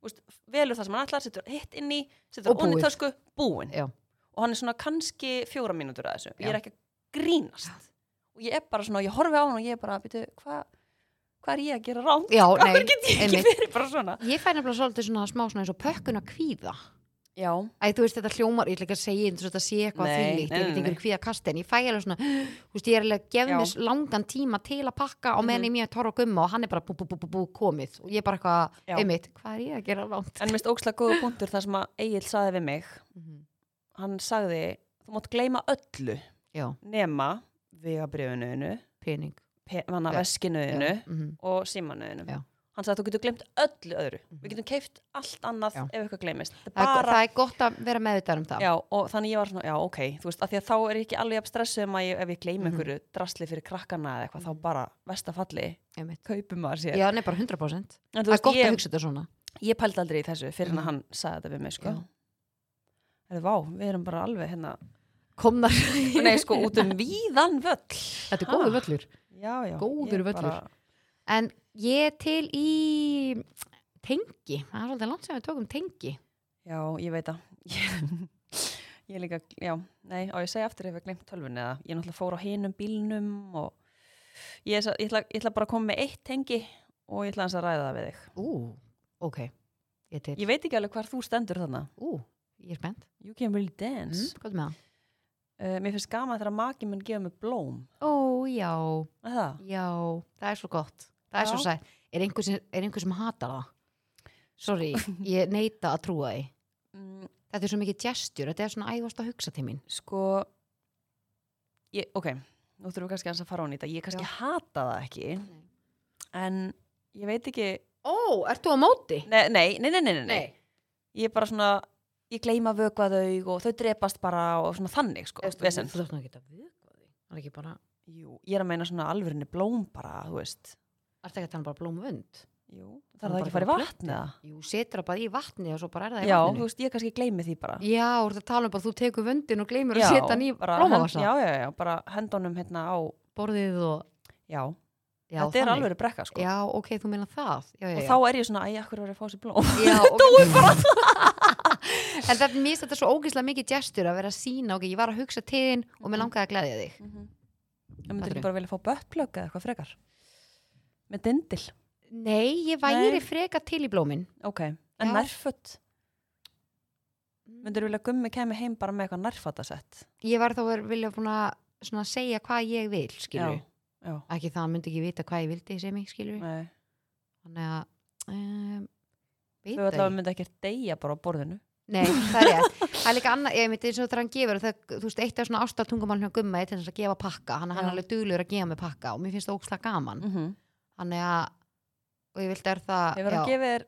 S2: þú veist, velur það sem hann ætlar, setur hitt inn í setur
S1: Og
S2: onni
S1: búið.
S2: tösku, búin
S1: Já.
S2: og hann er svona kannski fjóra mínútur að þessu
S1: Já.
S2: ég er ekki að grínast og ég er bara svona, ég horfi á hann og ég er bara býtu, hvað hva er ég að gera rámt
S1: já,
S2: hvað
S1: nei,
S2: get ég ekki
S1: einmitt.
S2: verið bara svona
S1: ég fæ nefnilega svolítið svona smá svona eins og pökkun að kvíða
S2: já,
S1: Æ, þú veist, þetta hljómar, ég ætla ekki að segja eins og þetta sé eitthvað
S2: Nei,
S1: þvílíkt,
S2: nei, nei,
S1: ég veit einhverju kvíða kasti en ég fæ alveg svona, þú veist, ég er alveg að gefa
S2: Já. Mhm.
S1: mér langan tíma til að pakka og meðan ég mér torra og gumma og hann er bara bú, bú, bú, bú, bú, komið og ég er bara eitthvað,
S2: Já.
S1: einmitt, hvað er ég að gera langt?
S2: en minnst ókslega góða punktur þar sem að Egil saði við mig
S1: Mhm.
S2: hann sagði, þú mátt gleyma öllu
S1: Já,
S2: nema vegabriðunuðinu,
S1: pening.
S2: vanna
S1: Já.
S2: veskinuðinu
S1: Mhm.
S2: og símanuðinu
S1: Já. Mhm.
S2: hann sagði, þú getur glemt öllu öðru við getum keift allt annað
S1: Já.
S2: ef eitthvað gleymist Þetta er
S1: það, er,
S2: bara
S1: það er gott að vera meðvitað um það
S2: Já, og þannig ég var svona, já, ok, þú veist, af því að þá er ég ekki alveg jafn stressuð um að ég, ef ég gleymi
S1: Mhm.
S2: einhverju drasli fyrir krakkana eða eitthvað, þá bara vestafalli
S1: Einmitt.
S2: kaupum maður sér.
S1: Já, nei, bara 100%
S2: en þú
S1: Það er
S2: veist,
S1: gott að
S2: ég,
S1: hugsa þetta svona
S2: ég pældi aldrei í þessu fyrir en
S1: Mhm.
S2: að hann sagði þetta við mig, sko.
S1: Já.
S2: Það er vá, við erum bara alveg hérna,
S1: Komnar
S2: nei, sko, út um víðan völl.
S1: Þetta er
S2: Ha?
S1: góður völlur
S2: Já, já.
S1: Góður
S2: ég
S1: völlur.
S2: bara-
S1: En ég er til í tengi Það er svolítið langt sem við tókum tengi
S2: Já, ég veit að, ég er líka, já, nei, á ég að segja aftur ef ég glemt tölvunni eða, ég náttúrulega fór á hinum bílnum og ég, er svo- ég, ætla, ég ætla bara að koma með eitt tengi og ég ætla hans að ræða það við þig.
S1: Ú, ok Ég er til
S2: Ég veit ekki alveg hvar þú stendur þarna.
S1: Ú, ég er spennt
S2: You can really
S1: mm,
S2: dance.
S1: Hvað er með það?
S2: Uh, mér finnst gaman þegar maki mun gefa mig blóm.
S1: Ó, já,
S2: Er Það.
S1: já Það er svo gott Það er
S2: Já.
S1: svo sætt Er einhver sem, er einhver sem hatar það? Sorry, ég neita að trúa því
S2: Mm,
S1: Þetta er svo mikið gestur, þetta er svona ægvast að hugsa til mín
S2: sko, ég, ok, nú þurfum við kannski aðeins að fara á nýta. Ég kannski
S1: Já.
S2: hata það ekki, en ég veit ekki,
S1: Ó, ert þú á móti?
S2: nei, nei, nei, nei, nei, nei. Ég er bara svona, ég gleyma að vökva þau og þau drepast bara og svona þannig, sko. vesen.
S1: Þú þarf að geta vökvað því. Það er ekki bara,
S2: Jú, ég er að meina svona alvörinni blóm bara, þú veist.
S1: ertu ekki að tala bara blómvönd?
S2: Jú,
S1: Hún
S2: þarf það
S1: bara
S2: ekki að fara í
S1: bara
S2: vatn eða?
S1: Jú, setur það bara í vatni og svo bara er það í
S2: Já, þú
S1: vatninu.
S2: veist, ég kannski gleymi því bara.
S1: Já, þú ert að tala um bara að þú tekur vöndin og gleymir
S2: Já,
S1: að setja hann í
S2: bara
S1: blómavasa.
S2: hend- Já, já, já, bara hendunum hérna á,
S1: Borðið og,
S2: já,
S1: já,
S2: þetta er alveg brekka sko.
S1: Já, ok, þú meina það. Já, já,
S2: og
S1: já.
S2: þá er ég svona, æg, akkur verið að fá sér blóm
S1: Já, ok. Dói bara En þetta mér finnst þetta svo ógeðslega mikið gestur að vera að sína, ok, ég var að hugsa til þín og
S2: Mm.
S1: mér langaði að gleðja þig.
S2: ég myndi
S1: Fattarðu?
S2: ekki bara vilja fá böttplögg eða eitthvað frekar með dindil,
S1: Nei, ég væri
S2: Nei.
S1: freka til í blómin.
S2: ok en
S1: Já.
S2: nærfött myndir vilja að gummi kemi heim bara með eitthvað nærfattasett
S1: Ég var þá að vera- vilja búin að svona segja hvað ég vil, skilur.
S2: já, já,
S1: Ekki það, hann myndi ekki vita hvað ég vildi, sem ég skilur.
S2: nei
S1: þannig að ehm, um,
S2: þau
S1: veit
S2: allavega
S1: það
S2: myndi ekki deyja bara á borðinu
S1: Nei, það er rétt. Það er líka annað, ég myndi eins og þegar hann gefur, það, þú veist, eitt af svona ástartungumál hjá gumma er til þess að gefa pakka, hann, hann
S2: Já.
S1: er alveg duglur að gefa mig pakka og mér finnst það ókslega gaman.
S2: Mm -hmm.
S1: Þannig að, og ég vildi er það,
S2: Hefur hann gefið þér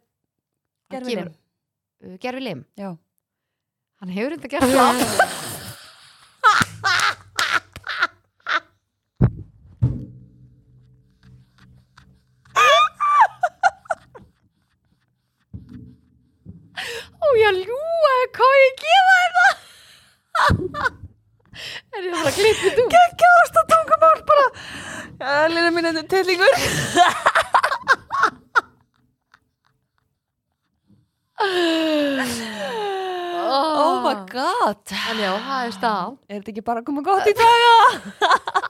S1: Hann
S2: gerfinni?
S1: gefur- uh, gerfi lim.
S2: Já.
S1: Hann hefur þetta gert það. Ó, ég ljúa, hvað á ég að gefa þér það? Er ég bara að klippi þú?
S2: Gekkjáðast að tungumál bara. Já, Lina mín, þetta er tillingur. Oh my god.
S1: Ah. En já, það er stað.
S2: Er þetta ekki bara að koma gott í daga?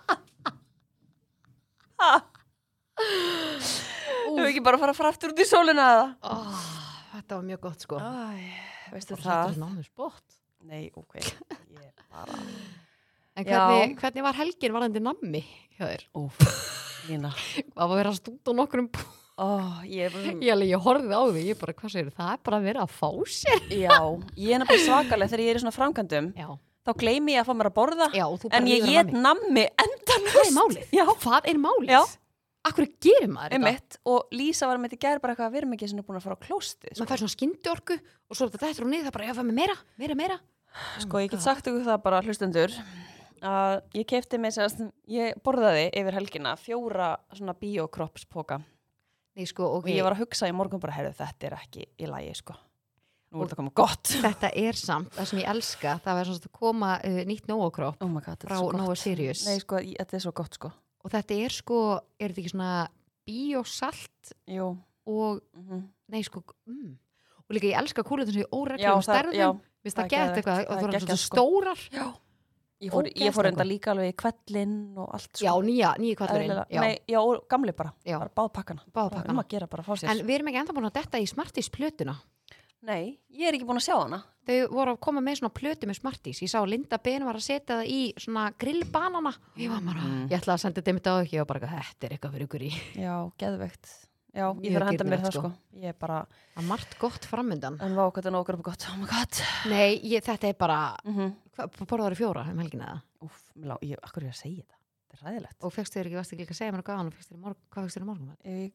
S2: Hefur við ekki bara að fara fræftur út í sólina eða?
S1: Ó, Ah, þetta var mjög gott sko.
S2: Æ, veistu
S1: Og þetta
S2: það?
S1: er námið spott.
S2: Nei, ok. Ég bara...
S1: En
S2: Já.
S1: hvernig, hvernig var helgin varandi nammi hjá þér?
S2: Úf, Lína.
S1: Það var að vera að stúta á nokkrum bú.
S2: Ó, ég,
S1: Ég, alveg- ég horfði á því, ég bara, hvað segir það? er bara að vera að fá sér.
S2: já, ég er nefnilega svakalega þegar ég er í svona framkvæmdum.
S1: Já,
S2: Þá gleymi ég að fá mér að borða.
S1: já og þú bara
S2: en ég
S1: lifir á
S2: get
S1: nammi.
S2: nammi
S1: Það er
S2: endanlust.
S1: málið.
S2: Já.
S1: Það er málið.
S2: Já.
S1: Akkur gerir maður þetta?
S2: Einmitt. Og Lísa var með þetta gæri bara eitthvað að við erum ekki sinni búin að fara á klósti. Sko.
S1: maður fær svona skyndjorku og svo þetta þetta og niður það bara, já, fæ mig meira, meira, meira Oh
S2: Sko, ég get sagt ykkur það bara hlustendur að ég kefti mig sérst, ég borðaði yfir helgina fjóra svona biokroppspoka
S1: Nei, sko,
S2: og
S1: ok,
S2: ég var að hugsa í morgun bara, herðu, þetta er ekki í lagi, sko. Nú er þetta komið gott.
S1: þetta er samt það sem ég elska, það var svona að koma uh, nýtt nógokróp
S2: Oh my god, þetta
S1: frá
S2: er svo
S1: Nóa
S2: gott.
S1: Sirius
S2: Nei, sko, ég- þetta er svo gott, sko.
S1: og þetta er sko, er þetta ekki svona bíosalt
S2: Jú.
S1: og,
S2: Mm
S1: nei, sko mm. og líka ég elska kúlutun sem ég
S2: Já,
S1: óreglum
S2: það,
S1: stærðum,
S2: já.
S1: minnst
S2: það
S1: það
S2: er
S1: gett
S2: geðveikt.
S1: eitthvað
S2: Það
S1: og
S2: er
S1: það var
S2: geggjað,
S1: svona
S2: sko.
S1: stórar
S2: Ég fór, ég
S1: Ógeðslega
S2: fór enda
S1: gott.
S2: líka alveg í kvellinn og allt, sko.
S1: já, nýja, nýja kvallurinn
S2: Eðlilega. Nei, já, og gamli bara.
S1: Já.
S2: Bara báð pakkana.
S1: Báða
S2: Um
S1: pakkana.
S2: að gera bara að fá sér.
S1: en við erum ekki enda búin að detta í Smarties plötuna
S2: Nei, ég er ekki búin að sjá hana.
S1: þau voru að koma með svona plötu með Smarties ég sá að Linda Ben var að setja það í svona grillbanana ég var bara,
S2: Mm.
S1: ég ætla að senda þetta mitt á ekki og bara, þetta er eitthvað fyrir ykkur í
S2: Já, geðveikt. Já, ég
S1: Mjög
S2: þarf að henda mér
S1: dýrðlegt,
S2: það,
S1: sko.
S2: sko. Ég er bara,
S1: það er margt gott framundan
S2: en vá, hvað þetta er nógur upp gott. Oh my god.
S1: nei, ég, þetta er bara,
S2: Mm
S1: hvað, borðar í fjóra um helgina það
S2: Úf, mér lá, ég, akkur er ég að segja þetta? Þetta er ræðilegt.
S1: og fegst þér ekki, varst ekki líka að segja mér hvað hann fékkstu þér í morgun, hvað fegst þér í morgun
S2: Ég,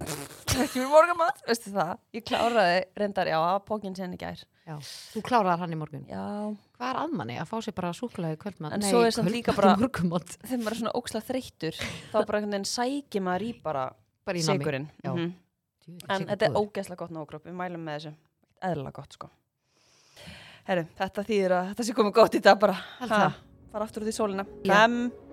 S2: ekki mér morgamat, veistu það? Ég kláraði reyndar, já, að pókin sen í gær.
S1: þú kláraðar hann í morgun,
S2: Já.
S1: hvað er aðmanni að fá sér bara súklaði kvöldmann,
S2: En svo er samt líka bara-
S1: morgumat,
S2: Þegar maður er svona óksla þreyttur, þá bara einhvern veginn sækir maður í bara
S1: bara í námi
S2: sigurinn.
S1: Já.
S2: Mhm. En þetta er ógeðslega gott nógróp, við mælum með þessu. Eðla gott, sko. Herru, þetta þýðir að þetta sé komið gott í dag bara.
S1: Held
S2: Ha,
S1: það.
S2: Fara aftur út í sólina.
S1: Já.
S2: Fem.